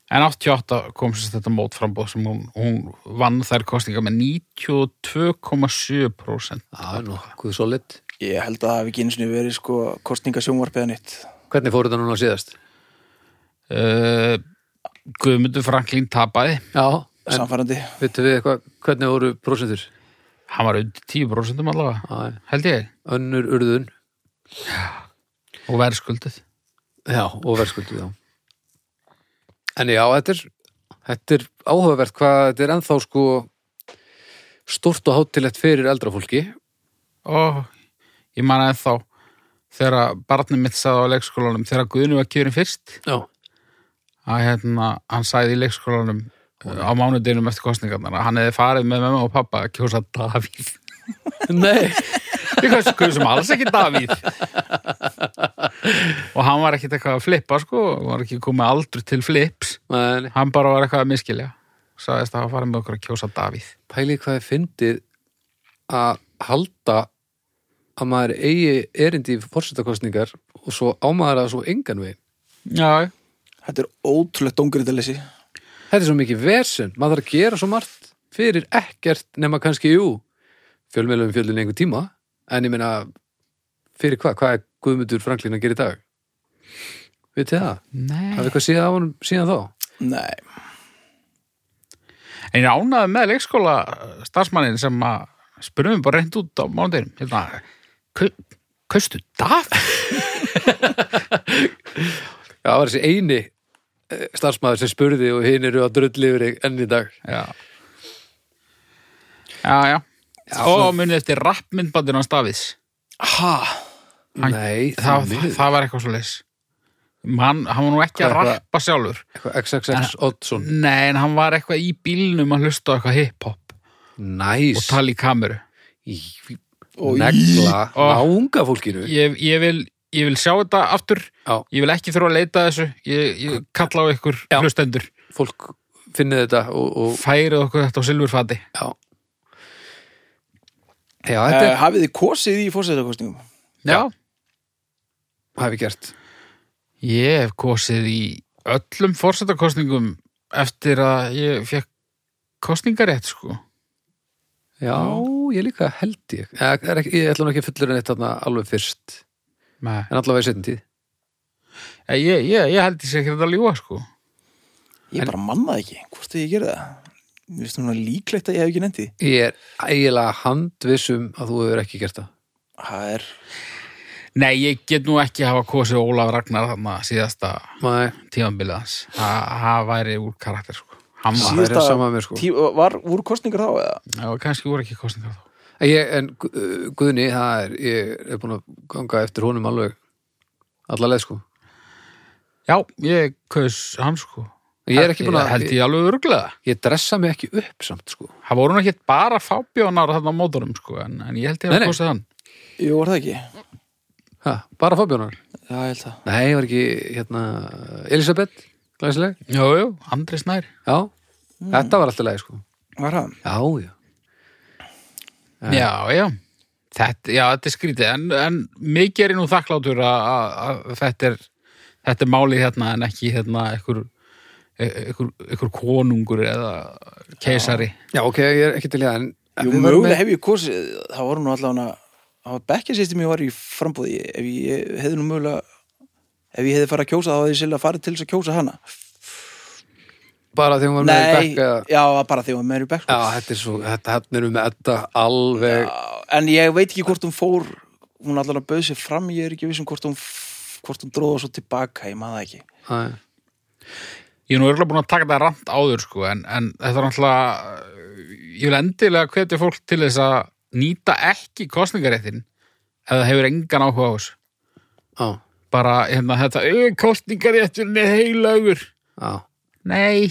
Speaker 1: en 88 kom sérst þetta mótframbóð sem hún, hún vann þær kostninga með 92,7%
Speaker 2: Það er nokkuð solid.
Speaker 3: Ég held að það hafi ekki einu sinni verið sko kostningasjónvarpið að nýtt.
Speaker 2: Hvernig fóru þetta núna síðast?
Speaker 1: uh, Guðmundur Franklín tapaði
Speaker 2: Já, en
Speaker 3: Samfærandi.
Speaker 2: veitum við eitthvað, hvernig voru prosentur?
Speaker 1: hann var undir 10% allavega
Speaker 2: Æ,
Speaker 1: held ég,
Speaker 2: önnur urðun.
Speaker 1: og verðskuldið
Speaker 2: Já, og verðskuldið, já. En já, þetta er, þetta er áhugavert hvað þetta er ennþá sko stort og hátilegt fyrir eldra fólki.
Speaker 1: og ég man að þá þegar að barnið mitt sagði á leikskólanum þegar Guðni var kjörin fyrst
Speaker 2: Já.
Speaker 1: að hérna, hann sagði í leikskólanum uh, á mánudeginum eftir kostningarnar að hann hefði farið með mamma og pappa að kjósa Davíð
Speaker 2: Nei.
Speaker 1: við kjósum- kjósum alls ekki Davíð og hann var ekkit eitthvað að flippa sko, hann var ekki komið aldur til flips
Speaker 2: Nei, nei.
Speaker 1: hann bara var eitthvað að miskilja sagðist að hann farið með okkur að kjósa Davíð
Speaker 2: Pælið hvað ég fyndið að halda að maður eigi erindi í fórsetakostningar og svo ámaður að svo engan veginn.
Speaker 1: já,
Speaker 3: Þetta er ótrúlegt dóngriðalessi.
Speaker 2: Þetta er svo mikið versum, maður þarf að gera svo margt fyrir ekkert nema kannski, jú, fjölmeðlum fjöldin einhver tíma, en ég meina, fyrir hvað, hvað er Guðmundur Franklín að gera í dag? Vitið þið það?
Speaker 1: nei
Speaker 2: Hafið eitthvað séð af honum síðan þá?
Speaker 3: Nei.
Speaker 1: En ég ánaði með leikskóla starfsmannin sem að spurðum við bara reynd út á mánudeginum. Hérna, kaustu dag?
Speaker 2: Já, það var þessi eini eh, starfsmaður sem spurði og hinn eru að drulli yfir þig enn í dag.
Speaker 1: Já. Já, já. Og munið eftir rappmyndbandir hans Davids.
Speaker 3: Ha?
Speaker 1: Hann-
Speaker 2: Nei,
Speaker 1: Það,
Speaker 2: því
Speaker 1: það,
Speaker 2: miður.
Speaker 1: það var eitthvað svo leis. Hann, hann var nú ekki
Speaker 2: Hvað
Speaker 1: að
Speaker 2: er það?
Speaker 1: rappa sjálfur.
Speaker 2: Eitthvað XXX Oddsson.
Speaker 1: Nei, en hann var eitthvað í bílnum að hlusta á eitthvað hip-hop og
Speaker 2: Næs.
Speaker 1: tala í kameru.
Speaker 2: Í-
Speaker 3: Og
Speaker 2: Negla
Speaker 1: Ó.
Speaker 2: á unga fólkinu.
Speaker 1: Ég, ég, vil, ég vil sjá þetta aftur.
Speaker 2: Já.
Speaker 1: Ég vil ekki þurfa að leita að þessu. Ég, ég kalla á ykkur
Speaker 2: Já.
Speaker 1: hlustendur.
Speaker 2: Fólk finnið þetta og, og
Speaker 1: Færið okkur þetta á silfurfati.
Speaker 2: Já Já, þetta
Speaker 3: Uh,
Speaker 2: er,
Speaker 3: hafið þið kosið í fórsetakostningum?
Speaker 1: Já.
Speaker 2: hafi gert
Speaker 1: Ég hef kosið í öllum fórsetakostningum eftir að ég fekk kostningarétt, sko.
Speaker 2: Já, ég líka held ég Ég, er ekki, ég ætla nú ekki fullur en eitt þarna alveg fyrst
Speaker 1: Nei.
Speaker 2: En allavega í setjum tíð
Speaker 1: eh, Ég, ég, ég held ég sé ekki þetta að ljúa, sko.
Speaker 3: Ég bara mannaði ekki. Hvort þið ég gerði það? Mér finnst núna líklegt að ég hef ekki nefnt því.
Speaker 2: Ég er eiginlega handvissum að þú hefur ekki gert það
Speaker 3: Það er...
Speaker 1: Nei, ég get nú ekki hafa kosið Ólaf Ragnar þarna síðasta
Speaker 2: Nei,
Speaker 1: tímabilið hans. Það það væri úr karakter, sko. Hann var,
Speaker 2: það er
Speaker 3: Síðasta-
Speaker 2: sama með mér sko
Speaker 3: Tí, var, voru kostningar þá eða?
Speaker 1: já, kannski voru ekki kostningar þá.
Speaker 2: ég, En Gu- uh, Guðni, það er, ég er búin að ganga eftir honum alveg Allaleg sko
Speaker 1: Já, ég kaus hann, sko.
Speaker 2: Ég er ekki búin að,
Speaker 1: Held ég alveg örglega.
Speaker 2: ég, ég dressa mig ekki upp samt sko
Speaker 1: Það voru nú ekki bara fábjónar þarna á mótorum, sko, en, en ég held ég
Speaker 2: Nei,
Speaker 1: að
Speaker 2: nei.
Speaker 1: kosið hann.
Speaker 3: Jú, var það ekki?
Speaker 2: ha, Bara Fabjónar
Speaker 3: Já, ég held það.
Speaker 2: Nei, var ekki, hérna, Elisabeth Glæsileg
Speaker 1: Jú, jú, Andri Snær.
Speaker 2: Já, þetta var alltaf leið sko
Speaker 3: Var það?
Speaker 2: Já, já
Speaker 1: Já, já. Þetta, já, þetta er skrítið, en, en mikið er ég nú þakklátur að- að að þetta er, þetta er málið hérna en ekki hérna ekkur, ekkur, ekkur konungur eða keisari.
Speaker 2: Já, ok, ég er ekki til í það en
Speaker 3: Jú,
Speaker 2: við vorum
Speaker 3: mögulega
Speaker 2: með-
Speaker 3: hef ég kosið, það voru nú allavega það var bekkja sýstum ég var í frambúði ef ég hefði nú mögulega ef ég hefði farið að kjósa þá hefði ég sérlega farið til þess að kjósa hana
Speaker 2: bara þegar hún var með
Speaker 3: Nei,
Speaker 2: bekka
Speaker 3: já, bara því að maður er í bekk
Speaker 2: Já,
Speaker 3: sko.
Speaker 2: þetta er svo, þetta hann erum með þetta alveg
Speaker 3: En ég veit ekki hvort hún fór hún allavega bauð sér fram, ég er ekki vissum hvort hún hvort hún dróða svo tilbaka, ég maður það ekki
Speaker 2: Æ,
Speaker 1: Ég er nú örgulega búin að taka þetta rand áður sko, en, en þetta er náttúrulega, ég vil endilega hvetja fólk til þess að nýta ekki kostningaréttin eða hefur engan áhuga á þessu.
Speaker 2: Já,
Speaker 1: Bara hérna þetta, "Ö, kostningarétturinn er heilagur.
Speaker 2: já,
Speaker 1: Nei,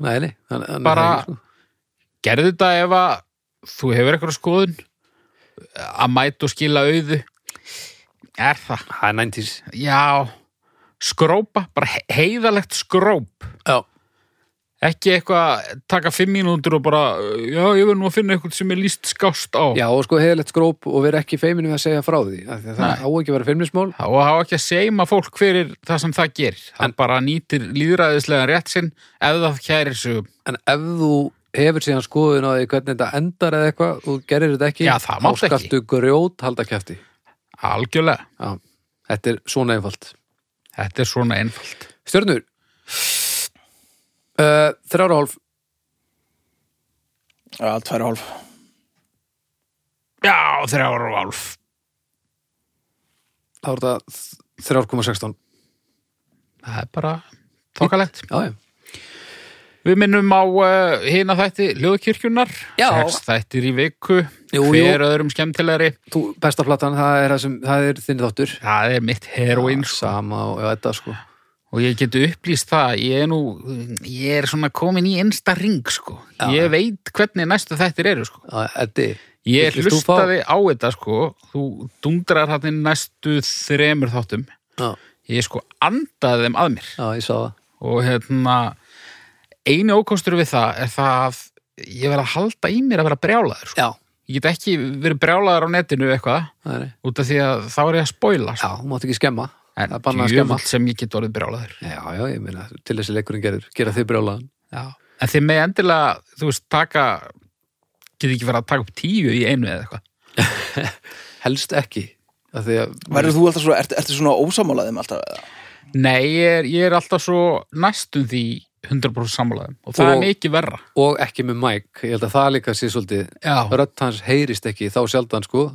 Speaker 2: nei, nei hann, hann
Speaker 1: Bara-
Speaker 2: er, sko.
Speaker 1: gerðu þetta ef að þú hefur eitthvað skoðun að mæta og skila auðu er það
Speaker 2: Það er 90s
Speaker 1: já, skrópa, bara he- heiðalegt skróp
Speaker 2: Já,
Speaker 1: ekki eitthvað taka fimm mínútur og bara já, ég verð nú að finna eitthvað sem er líst skást á
Speaker 2: Já, og sko heiðalegt skróp og vera ekki feiminu við að segja frá því. af því að
Speaker 1: Nei.
Speaker 2: Það á ekki að vera feimnismál.
Speaker 1: og hafa ekki að seima fólk fyrir það sem það gerir hann bara nýtir líðræðislega rétt sinn ef það kærir sig um.
Speaker 2: En ef þú hefur síðan skoðun á því hvernig þetta endar eða eitthvað og gerir þetta ekki,
Speaker 1: Já, það mátt ekki.
Speaker 2: Þá skaltu grjót halda kæfti.
Speaker 1: algjörlega,
Speaker 2: Já, þetta er svona einfalt.
Speaker 1: þetta er svona einfalt
Speaker 2: Stjörnur. Uh, þrjára hálf.
Speaker 3: Já, tvær og hálf.
Speaker 1: já, þrjára og hálf
Speaker 2: Þá er þetta 3,16.
Speaker 1: það er bara þokkalegt
Speaker 2: Já, já.
Speaker 1: Við minnum á uh, hina þætti Ljóðkirkjunar,
Speaker 2: Já.
Speaker 1: sex þættir í viku,
Speaker 2: Jú,
Speaker 1: hver öðrum skemmtilegri,
Speaker 2: Þú, besta platan, það er, það sem, það er þinn þáttur.
Speaker 1: það er mitt heroin sko.
Speaker 2: Sama og já, þetta sko.
Speaker 1: og ég get upplýst það, ég er nú, ég er svona komin í einsta ring sko, ég veit hvernig næstu þættir eru sko.
Speaker 2: Já, Eddi.
Speaker 1: Ég
Speaker 2: Villist þú fá-
Speaker 1: hlustaði á þetta sko, þú dundrar hann inn næstu þremur þáttum,
Speaker 2: Já,
Speaker 1: ég sko andaði þeim að mér
Speaker 2: já, ég sá það.
Speaker 1: og hérna, eini ókostur við það er það að ég verð að halda í mér að vera brjálaður sko.
Speaker 2: Já,
Speaker 1: ég get ekki verið brjálaður á netinu eitthvað,
Speaker 2: það er
Speaker 1: út af því að þá er ég að spoila
Speaker 2: Já,
Speaker 1: sko.
Speaker 2: hún mátt ekki skemma.
Speaker 1: en
Speaker 2: það er bannað að skemma
Speaker 1: djöfull sem ég get orðið brjálaður
Speaker 2: Já, já, ég meina, til þessi leikurinn gerir, gera þið brjólaðan.
Speaker 1: Já. en þið með endilega, þú veist, taka get ekki verið að taka upp tíu í einu eða eitthvað
Speaker 2: Helst ekki. af því Að,
Speaker 3: Verður þú alltaf svona, ert, ertu svona ósamálaðum alltaf? eða?
Speaker 1: nei, ég er, ég er alltaf svo næstum því 100% sammálaðum og það
Speaker 2: Og-
Speaker 1: er mikið verra
Speaker 2: og ekki með Mike, ég held að það líka sé svolítið,
Speaker 1: Já.
Speaker 2: rödd hans heyrist ekki þá sjaldan sko.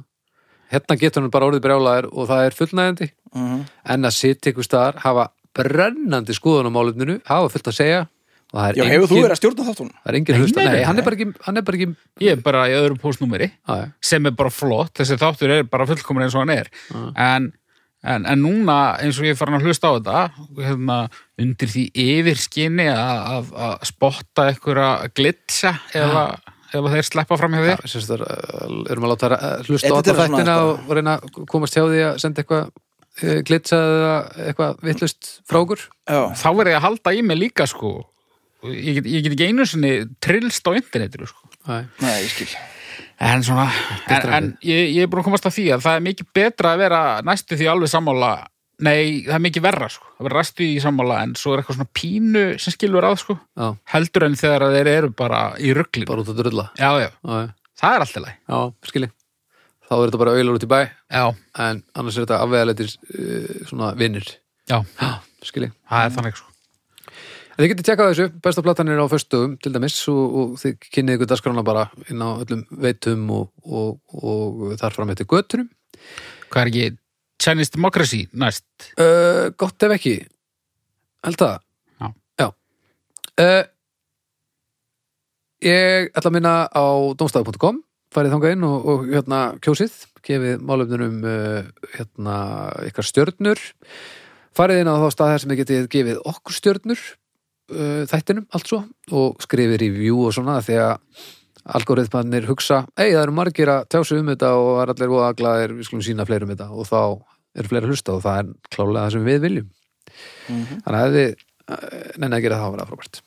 Speaker 2: Hérna getur hann bara orðið brjólaðar og það er fullnæðandi.
Speaker 3: Mhm.
Speaker 2: En að sitja ykkur staðar, hafa brennandi skoðun á málefninu, hafa fullt að segja og það er
Speaker 3: Já, hefur þú verið að stjórna þáttun?
Speaker 2: það er engin
Speaker 1: Nei,
Speaker 2: hlusta.
Speaker 1: nei,
Speaker 2: Nei,
Speaker 1: nei,
Speaker 2: hann er
Speaker 1: nei.
Speaker 2: bara ekki, hann er bara ekki,
Speaker 1: ég er bara í öðru postnúmeri
Speaker 2: á, já,
Speaker 1: sem er bara flott, þessi þáttur er bara fullkomin eins og hann er en, en, en núna eins og ég er farin að hlusta á þetta hérna, undir því yfirskinni að, að, að spotta einhverja glitsa eða, ef þeir sleppa fram hjá
Speaker 2: já,
Speaker 1: þér
Speaker 2: sem sagt, uh, erum að láta uh, hlusta á alla
Speaker 3: Þetta er svona
Speaker 2: þættina
Speaker 3: eitthvað-
Speaker 2: og reyna að komast hjá því að senda eitthvað uh, glitsað eða eitthvað vittlust frá okkur.
Speaker 3: Já.
Speaker 1: þá verð ég að halda í mig líka sko ég get, ég get ekki einu sinni trillst á internetinu sko
Speaker 2: Nei.
Speaker 3: Nei, ég skil.
Speaker 1: en svona, en,
Speaker 2: Betra
Speaker 1: en ég, ég er búin að komast að því að það er mikið betra að vera næstu því alveg sammála nei, það er mikið verra sko, að vera næstu því sammála en svo er eitthvað svona pínu sem skilur að sko
Speaker 2: Já,
Speaker 1: heldur en þegar að þeir eru bara í rugglinu.
Speaker 2: bara út að drulla
Speaker 1: Já, já,
Speaker 2: Já,
Speaker 1: það er allt í lagi.
Speaker 2: já, skilji Þá er þetta bara auðlar út í bæ
Speaker 1: Já,
Speaker 2: En annars er þetta afvegaleitir uh, svona vinnir
Speaker 1: já,
Speaker 2: Já, skilji
Speaker 1: það er þannig sko.
Speaker 2: En þið getið tjekkað á þessu, besta platan er á föstugum til dæmis og, og þið kynnið ykkur dagskrána bara inn á öllum veitum og, og, og þar fram eftir göttunum
Speaker 1: Hvað er ekki Chinese Democracy næst?
Speaker 2: uh, Gott ef ekki Held það
Speaker 1: Já.
Speaker 2: Uh, Ég ætla að minna á domstafu.com farið þangað inn og, og hérna kjósið gefið málefnunum uh, hérna ykkar stjörnur farið inn á þá stað þar sem þið getið gefið okkur stjörnur uh, þættinum allt svo og skrifið review og svona því að algoritmannir hugsa ei það eru margir að tjásu um þetta og það er allir voða glæðir við skulum sína fleirum um þetta og þá eru fleiri að hlusta og það er klálega það sem við viljum
Speaker 1: Mhm.
Speaker 2: þannig að ef þið uh, nenni að gera það að vera frábært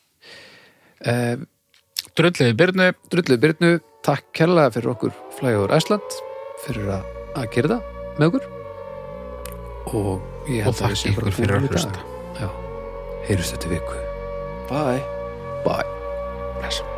Speaker 2: uh,
Speaker 1: Drulliði Byrnu,
Speaker 2: Drullu Byrnu, takk kærlega fyrir okkur flægur Æsland fyrir að, að gera það með okkur og ég
Speaker 1: Og
Speaker 2: held að
Speaker 1: þakka
Speaker 2: við séum bara
Speaker 1: ykkur fyrir
Speaker 2: búin
Speaker 1: að
Speaker 2: í dag. Já, heyrjumst þetta viku
Speaker 3: Bye.
Speaker 2: Bye
Speaker 1: blessa.